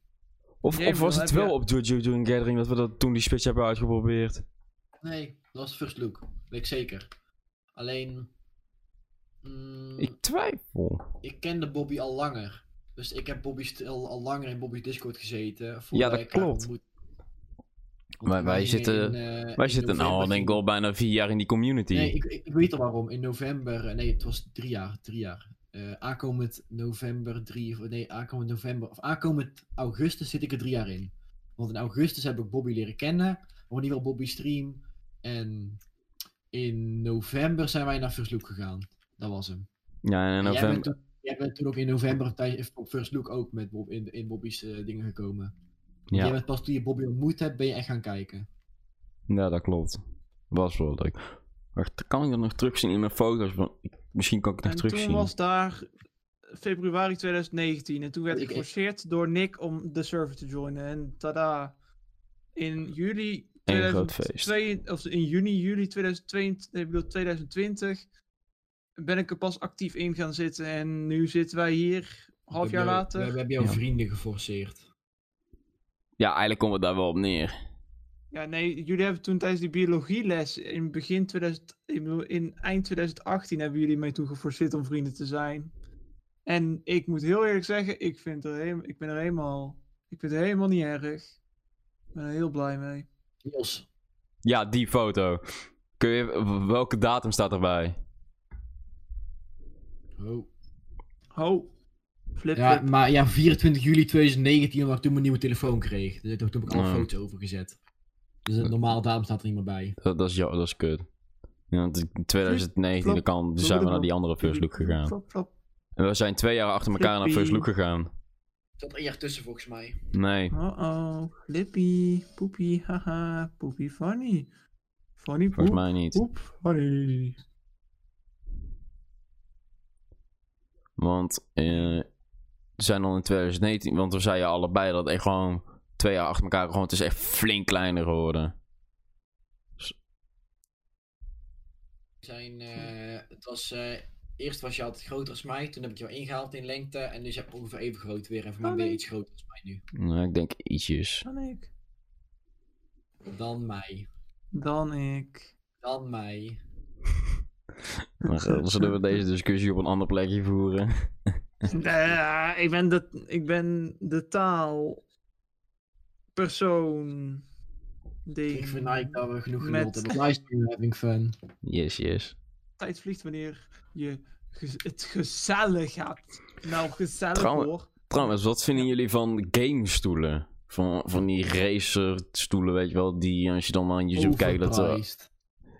[SPEAKER 3] Of,
[SPEAKER 2] Nee,
[SPEAKER 3] of
[SPEAKER 2] maar
[SPEAKER 3] was
[SPEAKER 2] dan
[SPEAKER 3] het
[SPEAKER 2] heb
[SPEAKER 3] wel
[SPEAKER 2] je-
[SPEAKER 3] op Jojo Doing Gathering dat we dat toen die spits hebben uitgeprobeerd?
[SPEAKER 1] Nee, dat was First Look. Weet ik zeker. Alleen. mm,
[SPEAKER 3] Ik twijfel.
[SPEAKER 1] ik kende Bobby al langer. Dus ik heb Bobby al, al langer in Bobby's Discord gezeten.
[SPEAKER 3] Ja,
[SPEAKER 1] voordat
[SPEAKER 3] dat
[SPEAKER 1] ik haar
[SPEAKER 3] klopt.
[SPEAKER 1] ontmoet- Want
[SPEAKER 3] Maar
[SPEAKER 1] wij
[SPEAKER 3] wij
[SPEAKER 1] gingen
[SPEAKER 3] zitten-
[SPEAKER 1] in, eh,
[SPEAKER 3] Wij
[SPEAKER 1] in
[SPEAKER 3] zitten nou,
[SPEAKER 1] november
[SPEAKER 3] denk ik,
[SPEAKER 1] gingen-
[SPEAKER 3] al bijna vier jaar in die community.
[SPEAKER 1] Nee, ik, ik weet al waarom. In november, eh, nee, het was drie jaar, drie jaar. Eh, aankomend november, drie, of nee, aankomend november, of aankomend augustus zit ik er drie jaar in. Want in augustus heb ik Bobby leren kennen, want die wel Bobby stream. En in november zijn wij naar First Look gegaan. Dat was hem.
[SPEAKER 3] Ja, en in
[SPEAKER 1] En Jij bent,
[SPEAKER 3] november.
[SPEAKER 1] toen, jij bent toen ook in november tijdens op First Look ook met Bob, in, in Bobby's eh, dingen gekomen. Ja. Jij
[SPEAKER 3] Ja,
[SPEAKER 1] bent pas toen je Bobby ontmoet hebt, ben je echt gaan kijken.
[SPEAKER 3] ja, dat klopt. Was wel leuk. Wacht, kan ik dat nog terugzien in mijn foto's? Want ik- Misschien kan ik het nog
[SPEAKER 2] En toen
[SPEAKER 3] terugzien.
[SPEAKER 2] was daar februari 2019 en toen werd
[SPEAKER 1] Ik-
[SPEAKER 2] ik
[SPEAKER 1] ik-
[SPEAKER 2] geforceerd door Nick om de server te joinen en tada. In juli
[SPEAKER 3] Eén groot
[SPEAKER 2] 2002 of in juni, juli 2022, nee, ik bedoel 2020 ben ik er pas actief in gaan zitten en nu zitten wij hier half
[SPEAKER 1] We
[SPEAKER 2] jaar
[SPEAKER 1] hebben-
[SPEAKER 2] later.
[SPEAKER 1] We, we hebben jouw
[SPEAKER 3] Ja.
[SPEAKER 1] vrienden geforceerd.
[SPEAKER 3] Ja, eigenlijk komt het daar wel op neer.
[SPEAKER 2] Ja, nee, jullie hebben toen tijdens die biologieles in begin 2000, ik bedoel, in eind 2018 hebben jullie mij toen geforceerd om vrienden te zijn. En ik moet heel eerlijk zeggen, ik, vind er heem- ik ben er helemaal, ik vind het helemaal niet erg. Ik ben er heel blij mee.
[SPEAKER 1] Niels,
[SPEAKER 3] Ja, die foto. Kun je, w- welke datum staat erbij?
[SPEAKER 1] Oh.
[SPEAKER 2] Ho, flip,
[SPEAKER 1] Ja,
[SPEAKER 2] flip.
[SPEAKER 1] maar ja, 24 juli 2019, omdat ik toen mijn nieuwe telefoon kreeg. Dus toen heb ik alle
[SPEAKER 3] Ja.
[SPEAKER 1] foto's overgezet. Dus een normaal daarom staat er niet meer bij.
[SPEAKER 3] Dat, dat, is, ja, dat is kut. Ja, want in 2019
[SPEAKER 2] Flip,
[SPEAKER 3] kan,
[SPEAKER 2] flip,
[SPEAKER 3] zijn we
[SPEAKER 2] flip,
[SPEAKER 3] naar die andere First Look gegaan.
[SPEAKER 2] Flop, flop.
[SPEAKER 3] En we zijn twee jaar achter elkaar naar
[SPEAKER 2] Flippy.
[SPEAKER 3] First Look gegaan.
[SPEAKER 1] Er zat een jaar tussen volgens mij.
[SPEAKER 3] Nee.
[SPEAKER 2] Oh oh, flippy, poepie, haha, poepie funny. Funny poep,
[SPEAKER 3] Volgens mij niet.
[SPEAKER 2] poep, funny.
[SPEAKER 3] Want eh, we zijn al in 2019, want we zeiden allebei dat echt gewoon twee jaar achter elkaar gewoon, het is echt flink kleiner geworden.
[SPEAKER 1] Zijn, eh, het was, eh, eerst was je altijd groter als mij, toen heb ik jou ingehaald in lengte. En nu is je ongeveer even groot weer. En voor mij
[SPEAKER 2] Oh,
[SPEAKER 1] ben je
[SPEAKER 2] nee.
[SPEAKER 1] iets groter als mij nu.
[SPEAKER 3] Nou, ik denk ietsjes.
[SPEAKER 2] Dan ik.
[SPEAKER 1] Dan mij.
[SPEAKER 2] Dan ik.
[SPEAKER 1] Dan mij.
[SPEAKER 3] Maar eh, zullen we deze discussie op een ander plekje voeren?
[SPEAKER 2] Eh, ik, ben de, ik ben de taal. Persoon. Ding.
[SPEAKER 1] Ik vind eigenlijk dat we genoeg geduld
[SPEAKER 2] Met-
[SPEAKER 1] hebben. Livestream having fun.
[SPEAKER 3] Yes, yes.
[SPEAKER 2] Tijd vliegt wanneer je gez- het gezellig hebt. Nou, gezellig
[SPEAKER 3] Trouwen-
[SPEAKER 2] hoor.
[SPEAKER 3] Trouwens, wat vinden jullie van gamestoelen? Van, van die racerstoelen, weet je wel, die als je dan naar YouTube kijkt, dat... eh,
[SPEAKER 1] Overpriced.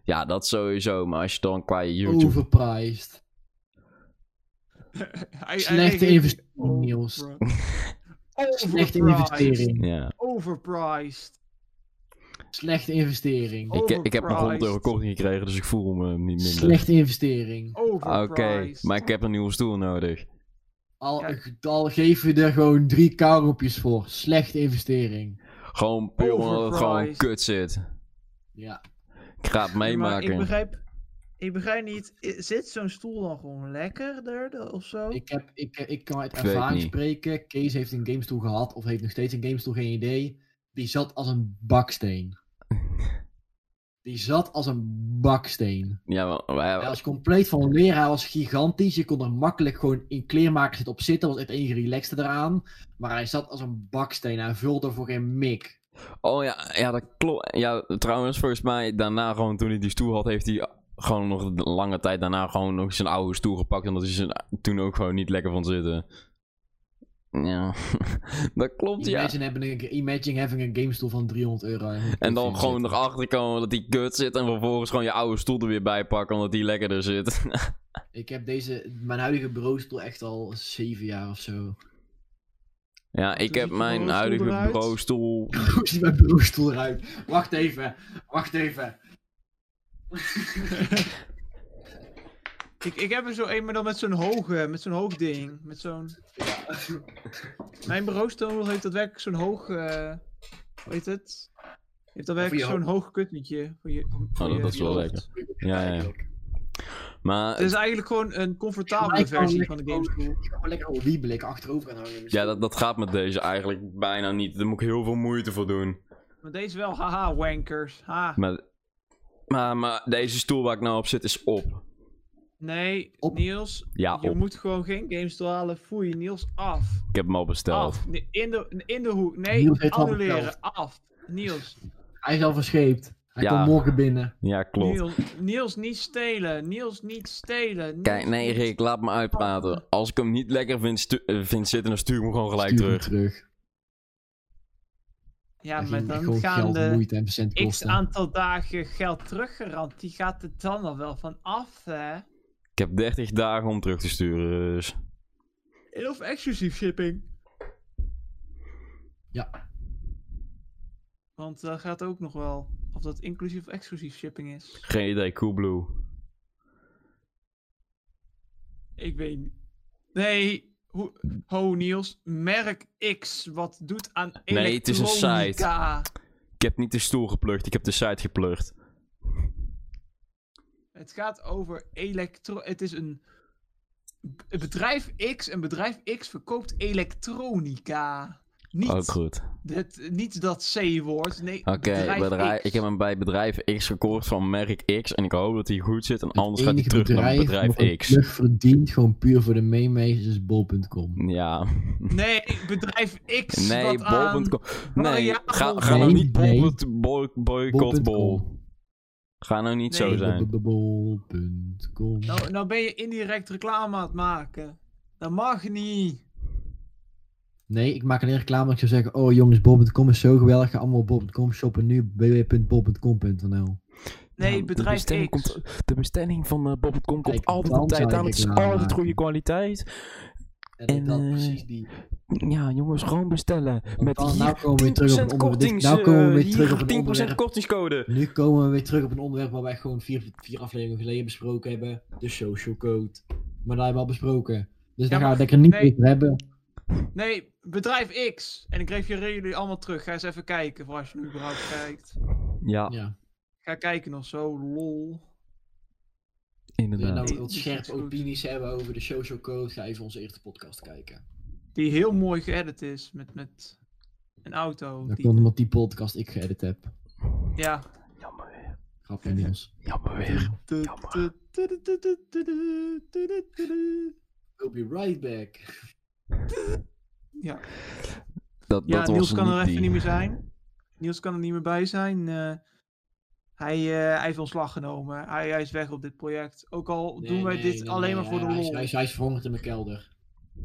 [SPEAKER 3] ja, dat sowieso, maar als je dan qua YouTube...
[SPEAKER 1] Overpriced.
[SPEAKER 2] Hij- hij
[SPEAKER 1] Slechte
[SPEAKER 2] reageert-
[SPEAKER 1] investering, Niels.
[SPEAKER 2] Overpriced.
[SPEAKER 1] Slechte investering.
[SPEAKER 3] Ja,
[SPEAKER 2] Overpriced.
[SPEAKER 1] Slechte investering.
[SPEAKER 2] Oh,
[SPEAKER 3] ik, ik heb nog 100 euro
[SPEAKER 2] Overpriced.
[SPEAKER 3] korting gekregen, dus ik voel me niet minder.
[SPEAKER 1] Slechte investering.
[SPEAKER 3] Ah, Oké,
[SPEAKER 2] Overpriced.
[SPEAKER 3] maar ik heb een nieuwe stoel nodig.
[SPEAKER 1] Al,
[SPEAKER 2] Ja.
[SPEAKER 1] al geef je er gewoon drie kauwgompjes voor. Slechte investering.
[SPEAKER 3] Gewoon puur omdat het gewoon
[SPEAKER 2] Overpriced.
[SPEAKER 3] kut zit.
[SPEAKER 1] Ja.
[SPEAKER 3] Ik ga het
[SPEAKER 2] Maar
[SPEAKER 3] meemaken.
[SPEAKER 2] ik begrijp. Ik begrijp niet, i- zit zo'n stoel dan gewoon lekkerder of zo?
[SPEAKER 1] Ik, heb, ik, eh, ik kan uit
[SPEAKER 3] Ik weet
[SPEAKER 1] ervaring
[SPEAKER 3] niet.
[SPEAKER 1] spreken. Kees heeft een gamestoel gehad. Of heeft nog steeds een gamestoel, geen idee. Die zat als een baksteen. Die zat als een baksteen.
[SPEAKER 3] Ja, maar, maar ja,
[SPEAKER 1] Hij was compleet van leer. Hij was gigantisch. Je kon er makkelijk gewoon in kleermakers op zitten. was het enige relaxte eraan. Maar hij zat als een baksteen. Hij vulde voor geen mik.
[SPEAKER 3] Oh ja, ja dat klopt. Ja, trouwens, volgens mij daarna gewoon toen hij die stoel had, heeft hij gewoon nog een lange tijd daarna gewoon nog zijn oude stoel gepakt. En dat is zijn, toen ook gewoon niet lekker van zitten. Ja, dat klopt ja.
[SPEAKER 1] Imagine, hebben een, imagine having een gamestoel van 300 euro.
[SPEAKER 3] En dan
[SPEAKER 1] Zitten.
[SPEAKER 3] gewoon erachter komen dat die kut zit en vervolgens gewoon je oude stoel er weer bij pakken omdat die lekkerder zit.
[SPEAKER 1] Ik heb deze, mijn huidige bureaustoel echt al zeven jaar of zo.
[SPEAKER 3] ja, ik
[SPEAKER 2] ziet
[SPEAKER 3] heb
[SPEAKER 2] je
[SPEAKER 3] mijn
[SPEAKER 2] bureaustoel
[SPEAKER 3] huidige Oh,
[SPEAKER 2] eruit?
[SPEAKER 3] bureaustoel
[SPEAKER 1] Hoe ziet mijn bureaustoel eruit? Wacht even, wacht even.
[SPEAKER 2] Ik, ik heb er zo een, maar dan met zo'n hoge, met zo'n hoog ding. Met zo'n... Mijn bureaustoel heeft dat werk zo'n hoog, eh, hoe heet het? Heeft dat werk
[SPEAKER 1] Voor je
[SPEAKER 2] zo'n
[SPEAKER 1] ho-
[SPEAKER 2] hoog kuttentje. Voor je, voor
[SPEAKER 3] Oh, dat-
[SPEAKER 2] je-
[SPEAKER 3] dat is wel lekker. Ja, ja. Maar
[SPEAKER 2] Het is eigenlijk gewoon een comfortabele
[SPEAKER 1] Ik kan
[SPEAKER 2] versie
[SPEAKER 1] lekker
[SPEAKER 2] van de GameCube.
[SPEAKER 1] Ik ga wel lekker oude Wii blikken achterover gaan hangen. dus
[SPEAKER 3] ja, dat, dat gaat met deze eigenlijk bijna niet. Daar moet ik heel veel moeite voor doen.
[SPEAKER 2] Maar deze wel, haha, wankers. Ha.
[SPEAKER 3] Maar, maar, maar deze stoel waar ik nou op zit is op.
[SPEAKER 2] Nee,
[SPEAKER 1] Op.
[SPEAKER 2] Niels,
[SPEAKER 3] Ja, op.
[SPEAKER 2] je moet gewoon geen games halen. Foei, Niels, af.
[SPEAKER 3] Ik heb hem al besteld.
[SPEAKER 2] Af. Nee, In de, in de hoek. Nee,
[SPEAKER 1] Niels heeft al
[SPEAKER 2] annuleren.
[SPEAKER 1] besteld.
[SPEAKER 2] Af. Niels,
[SPEAKER 1] Hij is al verscheept. Hij
[SPEAKER 3] Ja.
[SPEAKER 1] komt morgen binnen.
[SPEAKER 3] Ja, klopt.
[SPEAKER 2] Niels, Niels, niet stelen. Niels, niet stelen. Niels,
[SPEAKER 3] Kijk, nee
[SPEAKER 2] niet-
[SPEAKER 3] Rick, laat me uitpraten. Als ik hem niet lekker vind, stu- eh, vind zitten, dan stuur ik hem gewoon gelijk
[SPEAKER 1] Stuur hem
[SPEAKER 3] terug.
[SPEAKER 2] Ja,
[SPEAKER 1] Hij
[SPEAKER 2] maar
[SPEAKER 1] ging
[SPEAKER 2] dan
[SPEAKER 1] gewoon
[SPEAKER 2] gaan
[SPEAKER 1] geld,
[SPEAKER 2] de
[SPEAKER 1] moeite en cent
[SPEAKER 2] x
[SPEAKER 1] kosten.
[SPEAKER 2] aantal dagen geld teruggerand. Die gaat er dan al wel van af, hè?
[SPEAKER 3] Ik heb 30 dagen om terug te sturen, dus...
[SPEAKER 2] Of exclusief shipping.
[SPEAKER 1] Ja.
[SPEAKER 2] Want dat gaat ook nog wel. Of dat inclusief of exclusief shipping is.
[SPEAKER 3] Geen idee, Coolblue.
[SPEAKER 2] Ik weet niet. Nee. Hoe, ho Niels, merk X wat doet aan
[SPEAKER 3] Nee, het is een site.
[SPEAKER 2] elektronica.
[SPEAKER 3] Ik heb niet de stoel geplukt, ik heb de site geplukt.
[SPEAKER 2] Het gaat over elektro... Het is een... een bedrijf X en bedrijf X verkoopt elektronica. Niet,
[SPEAKER 3] Ook Oh, goed.
[SPEAKER 2] het, niet dat C-woord. Nee,
[SPEAKER 3] Oké, bedrijf-
[SPEAKER 2] X.
[SPEAKER 3] ik heb hem bij bedrijf X gekocht van merk X en ik hoop dat hij goed zit en
[SPEAKER 1] Het
[SPEAKER 3] anders gaat hij
[SPEAKER 1] enige
[SPEAKER 3] terug naar
[SPEAKER 1] wat een
[SPEAKER 3] bedrijf X.
[SPEAKER 1] plug verdient gewoon puur voor de meemeesters is bol.com.
[SPEAKER 3] Ja.
[SPEAKER 2] Nee, bedrijf X.
[SPEAKER 3] Nee,
[SPEAKER 2] wat aan...
[SPEAKER 3] bol.com. Nee,
[SPEAKER 2] variabel-
[SPEAKER 3] ga, ga nou
[SPEAKER 1] Nee,
[SPEAKER 3] niet
[SPEAKER 1] nee.
[SPEAKER 3] boycott boy, boycott bol. Ga nou niet zo
[SPEAKER 2] Nee.
[SPEAKER 3] zijn.
[SPEAKER 1] Bol.com.
[SPEAKER 2] Nou, nou ben je indirect reclame aan het maken. Dat mag niet.
[SPEAKER 1] Nee, ik maak alleen reclame. Ik zou zeggen: Oh jongens, bol.com is zo geweldig. Ga allemaal op bol.com shoppen nu. www.bol.com.nl.
[SPEAKER 2] Nee,
[SPEAKER 1] Nou,
[SPEAKER 3] Ja, Nou, de
[SPEAKER 2] bedrijf
[SPEAKER 3] bestelling,
[SPEAKER 2] X.
[SPEAKER 3] komt, de bestelling van eh, bol.com komt
[SPEAKER 1] Kijk,
[SPEAKER 3] altijd
[SPEAKER 1] dan
[SPEAKER 3] op tijd
[SPEAKER 1] zou ik
[SPEAKER 3] aan. Het is
[SPEAKER 1] reclame
[SPEAKER 3] altijd
[SPEAKER 1] maken.
[SPEAKER 3] goede kwaliteit.
[SPEAKER 1] En,
[SPEAKER 3] En,
[SPEAKER 1] dat
[SPEAKER 3] eh,
[SPEAKER 1] precies die.
[SPEAKER 3] Ja, jongens, gewoon bestellen. Met
[SPEAKER 1] dan-
[SPEAKER 3] hier
[SPEAKER 1] nou komen we weer terug op
[SPEAKER 3] 10%
[SPEAKER 1] een
[SPEAKER 3] kortings.
[SPEAKER 1] onderwerp. Nou komen we
[SPEAKER 3] eh,
[SPEAKER 1] weer
[SPEAKER 3] hier
[SPEAKER 1] terug op een
[SPEAKER 3] 10%
[SPEAKER 1] onderwerp.
[SPEAKER 3] kortingscode.
[SPEAKER 1] Nu komen we weer terug op een onderwerp waar wij gewoon vier, vier afleveringen geleden besproken hebben. De social code. Maar daar hebben we al besproken. Dus daar gaan
[SPEAKER 2] maar-
[SPEAKER 1] we het lekker niet
[SPEAKER 2] nee.
[SPEAKER 1] over hebben.
[SPEAKER 2] Nee, bedrijf X. En ik refereer jullie allemaal terug. Ga eens even kijken voor als je nu überhaupt kijkt. Ah,
[SPEAKER 3] Ja,
[SPEAKER 1] Ja.
[SPEAKER 2] Ga kijken of zo, lol.
[SPEAKER 1] Wil je
[SPEAKER 3] inderdaad.
[SPEAKER 1] nou
[SPEAKER 2] Nee,
[SPEAKER 1] wat
[SPEAKER 2] die is
[SPEAKER 1] scherpe
[SPEAKER 2] goed.
[SPEAKER 1] opinies hebben over de social code? Ga even onze eerste podcast kijken.
[SPEAKER 2] Die heel mooi geëdit is met, met een auto.
[SPEAKER 1] Dat
[SPEAKER 2] die-
[SPEAKER 1] komt omdat die podcast ik geëdit heb.
[SPEAKER 2] Ja.
[SPEAKER 3] Jammer weer.
[SPEAKER 1] Grapje Niels.
[SPEAKER 3] Jammer weer. Jammer.
[SPEAKER 1] We'll be right back.
[SPEAKER 2] Ja,
[SPEAKER 3] Dat,
[SPEAKER 2] ja
[SPEAKER 3] dat
[SPEAKER 2] Niels
[SPEAKER 3] was
[SPEAKER 2] kan er even
[SPEAKER 3] die. eh,
[SPEAKER 2] niet meer zijn. Niels kan er niet meer bij zijn. Eh, hij, eh, hij heeft ontslag genomen. Hij, hij is weg op dit project. Ook al
[SPEAKER 1] Nee,
[SPEAKER 2] doen wij
[SPEAKER 1] nee,
[SPEAKER 2] dit
[SPEAKER 1] nee,
[SPEAKER 2] alleen
[SPEAKER 1] nee,
[SPEAKER 2] maar voor de
[SPEAKER 1] hij- hij is-
[SPEAKER 2] lol.
[SPEAKER 1] Hij is, hij is verhongerd in mijn kelder.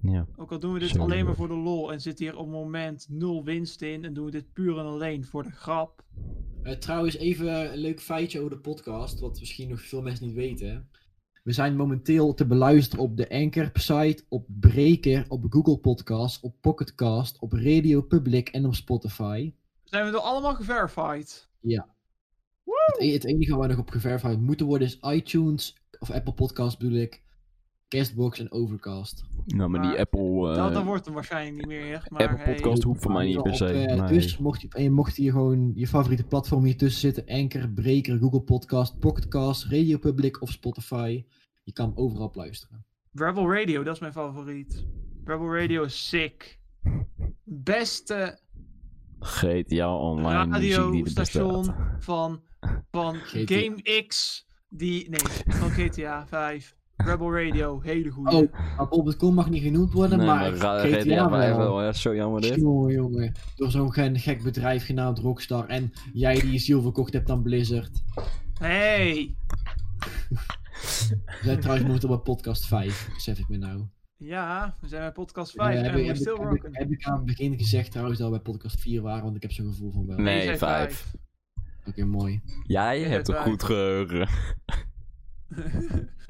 [SPEAKER 3] Ja.
[SPEAKER 2] Ook al doen we dit
[SPEAKER 3] Zo
[SPEAKER 2] alleen maar
[SPEAKER 3] leuk.
[SPEAKER 2] voor de lol en zit hier op het moment nul winst in en doen we dit puur en alleen voor de grap.
[SPEAKER 1] Eh, trouwens, even een leuk feitje over de podcast, wat misschien nog veel mensen niet weten. We zijn momenteel te beluisteren op de Anchor-site, op Breaker, op Google Podcast, op Pocketcast, op Radio Public en op Spotify.
[SPEAKER 2] Zijn we er allemaal geverified?
[SPEAKER 1] Het, e- het enige waar nog op geverifieerd moeten worden is iTunes, of Apple Podcast bedoel ik, Castbox en Overcast.
[SPEAKER 3] Nou, maar
[SPEAKER 2] Maar
[SPEAKER 3] die Apple, eh,
[SPEAKER 2] dat, dat wordt hem waarschijnlijk niet meer. Maar
[SPEAKER 3] Apple
[SPEAKER 2] hey,
[SPEAKER 3] Podcast hoeft voor mij niet per
[SPEAKER 1] Op, eh,
[SPEAKER 3] se. maar-
[SPEAKER 1] Dus mocht je, en je mocht hier gewoon je favoriete platform hier tussen zitten, Anchor, Breaker, Google Podcast, Pocketcast, Radio Public of Spotify. Je kan hem overal op luisteren.
[SPEAKER 2] Rebel Radio, dat is mijn favoriet. Rebel Radio is sick. Beste
[SPEAKER 3] GTA Online muziek die er
[SPEAKER 2] radiostation
[SPEAKER 3] bestaat.
[SPEAKER 2] van, van
[SPEAKER 1] GTA.
[SPEAKER 2] Game X. Die, nee, van GTA 5. Rebel Radio, hele goede.
[SPEAKER 1] Oh, maar bol.com mag niet genoemd worden,
[SPEAKER 3] Nee,
[SPEAKER 1] maar,
[SPEAKER 3] maar ra-
[SPEAKER 1] GTA,
[SPEAKER 3] GTA
[SPEAKER 1] wel.
[SPEAKER 3] wel, hè. Zo jammer dit.
[SPEAKER 1] Jongen, jongen. Door zo'n gen- gek bedrijf genaamd Rockstar en jij die je ziel verkocht hebt aan Blizzard.
[SPEAKER 2] Hey!
[SPEAKER 1] We zijn trouwens momenteel bij podcast 5, besef ik me nou.
[SPEAKER 2] Ja, we zijn bij podcast 5
[SPEAKER 1] Eh,
[SPEAKER 2] en
[SPEAKER 1] heb, ik-
[SPEAKER 2] we
[SPEAKER 1] heb ik-
[SPEAKER 2] still
[SPEAKER 1] heb, ik-
[SPEAKER 2] working.
[SPEAKER 1] heb ik aan het begin gezegd trouwens dat we bij podcast 4 waren, want ik heb zo'n gevoel van wel.
[SPEAKER 3] Nee,
[SPEAKER 2] zijn
[SPEAKER 3] vijf.
[SPEAKER 2] vijf.
[SPEAKER 1] Oké, mooi.
[SPEAKER 3] Jij
[SPEAKER 2] Ja,
[SPEAKER 3] hebt
[SPEAKER 2] dat
[SPEAKER 3] een
[SPEAKER 2] waar.
[SPEAKER 3] goed geheugen.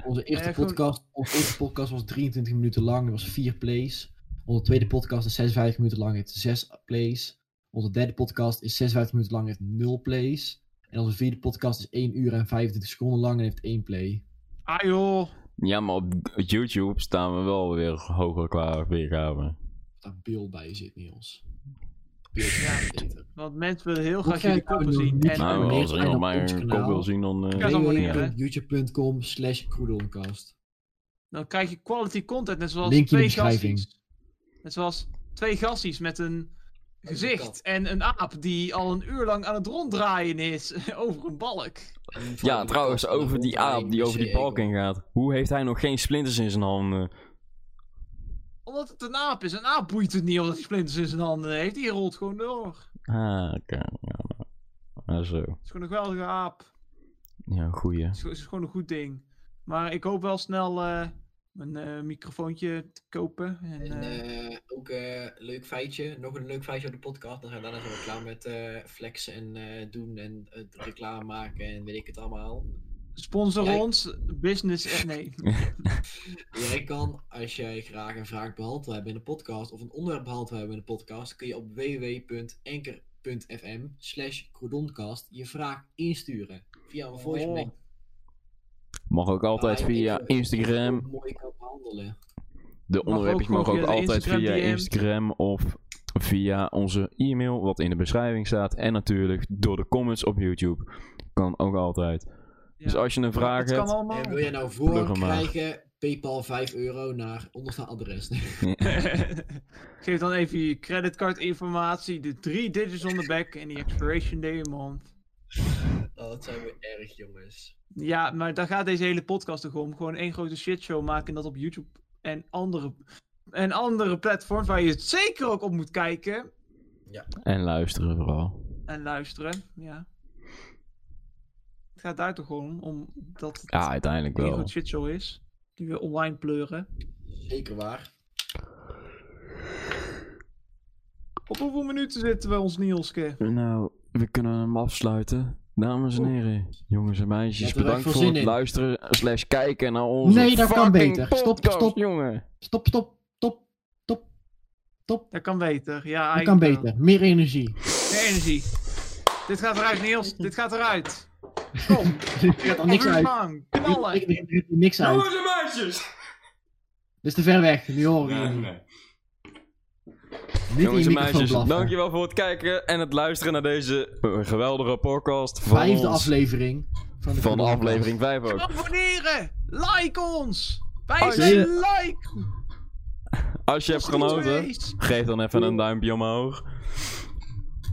[SPEAKER 1] Onze eerste,
[SPEAKER 2] Eh, goed.
[SPEAKER 1] podcast, onze eerste podcast was 23 minuten lang, er was 4 plays. Onze tweede podcast is 56 minuten lang, heeft 6 plays. Onze derde podcast is 56 minuten lang, heeft 0 plays. En onze vierde podcast is 1 uur en 25 seconden lang en heeft 1 play.
[SPEAKER 2] Ah joh.
[SPEAKER 3] Ja, maar op YouTube staan we wel weer hoger qua weergave.
[SPEAKER 1] Daar beeld bij zit, Niels.
[SPEAKER 2] Want mensen willen heel
[SPEAKER 1] Hoe
[SPEAKER 2] graag
[SPEAKER 1] ga je
[SPEAKER 2] jullie
[SPEAKER 1] het
[SPEAKER 2] koppen
[SPEAKER 1] nou
[SPEAKER 2] zien.
[SPEAKER 1] doen?
[SPEAKER 2] En
[SPEAKER 1] Nou,
[SPEAKER 3] Nou,
[SPEAKER 1] abonneer
[SPEAKER 3] als
[SPEAKER 1] en
[SPEAKER 3] iemand
[SPEAKER 1] op
[SPEAKER 3] mij
[SPEAKER 1] ons
[SPEAKER 3] een
[SPEAKER 1] kanaal.
[SPEAKER 3] kop wil zien, dan... eh,
[SPEAKER 2] Ja, nou. zo-
[SPEAKER 1] youtube.com slash crudoncast.
[SPEAKER 2] dan krijg je quality content. Net zoals
[SPEAKER 1] Linkje in de
[SPEAKER 2] twee
[SPEAKER 1] beschrijving.
[SPEAKER 2] gasties. Net zoals twee gasties met een
[SPEAKER 1] kat.
[SPEAKER 2] gezicht en een aap die al een uur lang aan het ronddraaien is over een balk.
[SPEAKER 3] Ja, trouwens, over die aap die
[SPEAKER 1] E
[SPEAKER 3] over die balk heen gaat. Hoe heeft hij nog geen splinters in zijn handen?
[SPEAKER 2] Omdat het een aap is. Een aap boeit het niet omdat hij splinters in zijn handen heeft. Die rolt gewoon door.
[SPEAKER 3] Ah, oké. Ja, nou. Ah, zo.
[SPEAKER 2] Het is gewoon een geweldige aap.
[SPEAKER 3] Ja, goeie.
[SPEAKER 2] Het is, het is gewoon een goed ding. Maar ik hoop wel snel eh, mijn eh, microfoontje te kopen. En,
[SPEAKER 4] En
[SPEAKER 2] eh,
[SPEAKER 4] eh, ook eh leuk feitje, nog een leuk feitje op de podcast. Dan zijn we daarna zijn we klaar met eh, flexen en eh, doen en eh, reclame maken en weet ik het allemaal.
[SPEAKER 2] sponsor
[SPEAKER 4] Jij-
[SPEAKER 2] ons. Business. eh, nee.
[SPEAKER 4] Jij kan, als jij graag een vraag behandeld wil hebben in de podcast of een onderwerp behandeld wil hebben in de podcast, kun je op www.enker.fm slash croudoncast je vraag insturen via een voice
[SPEAKER 2] Oh.
[SPEAKER 4] mail.
[SPEAKER 3] Mag ook altijd
[SPEAKER 2] Nou,
[SPEAKER 4] Waar je
[SPEAKER 3] via
[SPEAKER 4] even-
[SPEAKER 3] Instagram.
[SPEAKER 4] even mooi kan behandelen.
[SPEAKER 3] De onderwerpjes
[SPEAKER 2] gewoon
[SPEAKER 3] mag ook
[SPEAKER 2] via de
[SPEAKER 3] altijd
[SPEAKER 2] Instagram
[SPEAKER 3] via
[SPEAKER 2] DM.
[SPEAKER 3] Instagram of via onze e-mail, wat in de beschrijving staat. En natuurlijk door de comments op YouTube. Kan ook altijd. Dus
[SPEAKER 2] Ja.
[SPEAKER 3] als je een vraag
[SPEAKER 2] Het kan
[SPEAKER 3] hebt...
[SPEAKER 2] allemaal.
[SPEAKER 4] En wil jij nou
[SPEAKER 3] Plug
[SPEAKER 4] voor
[SPEAKER 3] hem maar.
[SPEAKER 4] krijgen, PayPal 5 euro naar onderstaand adres.
[SPEAKER 2] Geef dan even je creditcardinformatie, de drie digits on the back en die expiration day a month.
[SPEAKER 4] Oh, dat zijn we erg, jongens.
[SPEAKER 2] Ja, maar daar gaat deze hele podcast toch om. Gewoon één grote shitshow maken en dat op YouTube en andere, en andere platforms waar je het zeker ook op moet kijken
[SPEAKER 3] En luisteren vooral.
[SPEAKER 2] en luisteren. Ja. Het gaat daar toch gewoon om, om dat het
[SPEAKER 3] Ja, uiteindelijk
[SPEAKER 2] één
[SPEAKER 3] wel.
[SPEAKER 2] grote shitshow is. Die we online pleuren.
[SPEAKER 4] Zeker waar.
[SPEAKER 2] Op hoeveel minuten zitten we ons, Nielske?
[SPEAKER 3] Nou, we kunnen hem afsluiten. Dames
[SPEAKER 1] Oh.
[SPEAKER 3] en heren, jongens en meisjes,
[SPEAKER 4] Laten we er
[SPEAKER 3] bedankt
[SPEAKER 4] echt veel
[SPEAKER 3] voor het
[SPEAKER 4] zin in.
[SPEAKER 3] luisteren slash kijken naar onze
[SPEAKER 1] Nee, dat kan
[SPEAKER 3] fucking
[SPEAKER 1] beter. Stop,
[SPEAKER 3] podcast,
[SPEAKER 1] stop.
[SPEAKER 3] jongen.
[SPEAKER 1] Stop, stop, top, top, top.
[SPEAKER 2] Dat kan beter. Ja,
[SPEAKER 1] Dat kan
[SPEAKER 2] eigenlijk wel.
[SPEAKER 1] beter. Meer energie.
[SPEAKER 2] Meer energie. Dit gaat eruit, Niels. Dit gaat eruit. Kom.
[SPEAKER 1] Er gaat al niks
[SPEAKER 2] Kom
[SPEAKER 1] uit.
[SPEAKER 2] gang.
[SPEAKER 1] Er
[SPEAKER 2] Knallen.
[SPEAKER 1] gaat niks uit.
[SPEAKER 3] en meisjes!
[SPEAKER 1] Dit is te ver weg. Nu horen jullie. Niet in je
[SPEAKER 3] Jongens en
[SPEAKER 1] microfoon
[SPEAKER 3] meisjes,
[SPEAKER 1] blaffen.
[SPEAKER 3] dankjewel voor het kijken en het luisteren naar deze eh, geweldige podcast van,
[SPEAKER 1] Vijfde
[SPEAKER 3] ons,
[SPEAKER 1] aflevering van de,
[SPEAKER 3] van de
[SPEAKER 1] Crudoncast.
[SPEAKER 3] aflevering 5 ook.
[SPEAKER 2] Abonneren. Like ons. Wij
[SPEAKER 3] Als
[SPEAKER 2] zijn
[SPEAKER 1] je-
[SPEAKER 2] like.
[SPEAKER 3] Als je hebt genoten,
[SPEAKER 2] Alsjeblieft.
[SPEAKER 3] geef dan even een duimpje omhoog.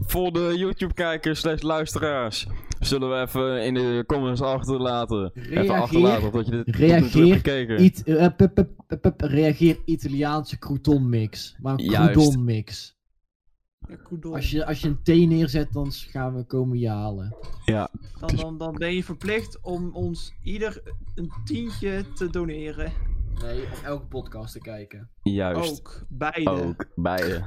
[SPEAKER 3] Voor de YouTube-kijkers slash luisteraars zullen we even in de comments achterlaten. even
[SPEAKER 1] Reageer.
[SPEAKER 3] achterlaten of dat je dit, dat je dit
[SPEAKER 1] Reageer.
[SPEAKER 3] hebt gekeken.
[SPEAKER 1] It- eh, pup, pup, pup, pup, reageer Italiaanse crouton mix. Maar een
[SPEAKER 3] Juist.
[SPEAKER 1] crouton mix.
[SPEAKER 2] Ja, koedel.
[SPEAKER 1] Als je, als je een thee neerzet, dan gaan we komen je halen.
[SPEAKER 2] Dan, dan, dan ben je verplicht om ons ieder een tientje te doneren.
[SPEAKER 1] Nee, of elke podcast te kijken.
[SPEAKER 3] Juist.
[SPEAKER 2] Ook. Beide.
[SPEAKER 1] Oh,
[SPEAKER 3] Ook, beide.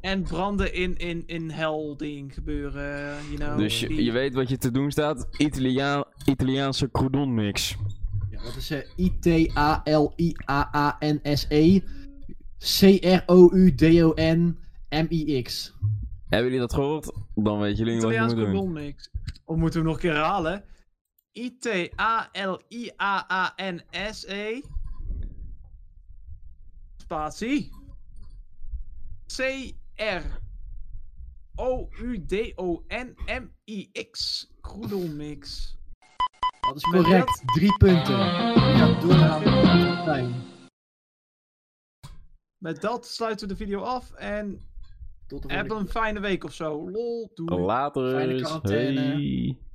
[SPEAKER 2] En branden in, in, in hel ding gebeuren. You
[SPEAKER 1] Oh,
[SPEAKER 2] know,
[SPEAKER 3] dus je,
[SPEAKER 2] die-
[SPEAKER 3] je weet wat je te doen staat. Italiaan, Italiaanse croudon mix.
[SPEAKER 1] Ja, dat is eh, I-T-A-L-I-A-A-N-S-E. C-R-O-U-D-O-N-M-I-X.
[SPEAKER 3] Hebben jullie dat gehoord? Dan weten jullie wat je
[SPEAKER 2] Italiaans
[SPEAKER 3] moet doen.
[SPEAKER 2] condommix. Of moeten we hem nog een keer herhalen? I-T-A-L-I-A-A-N-S-E. Spatie. C-R-O-U-D-O-N-M-I-X. Kroedelmix.
[SPEAKER 1] Dat Ah. is correct. Drie punten. We gaan door aan de tuin.
[SPEAKER 2] Met dat sluiten we de video af en
[SPEAKER 1] Tot de volgende
[SPEAKER 2] hebben een fijne week of zo. Lol, doei.
[SPEAKER 3] Later.
[SPEAKER 1] Fijne quarantaine.
[SPEAKER 3] Hey.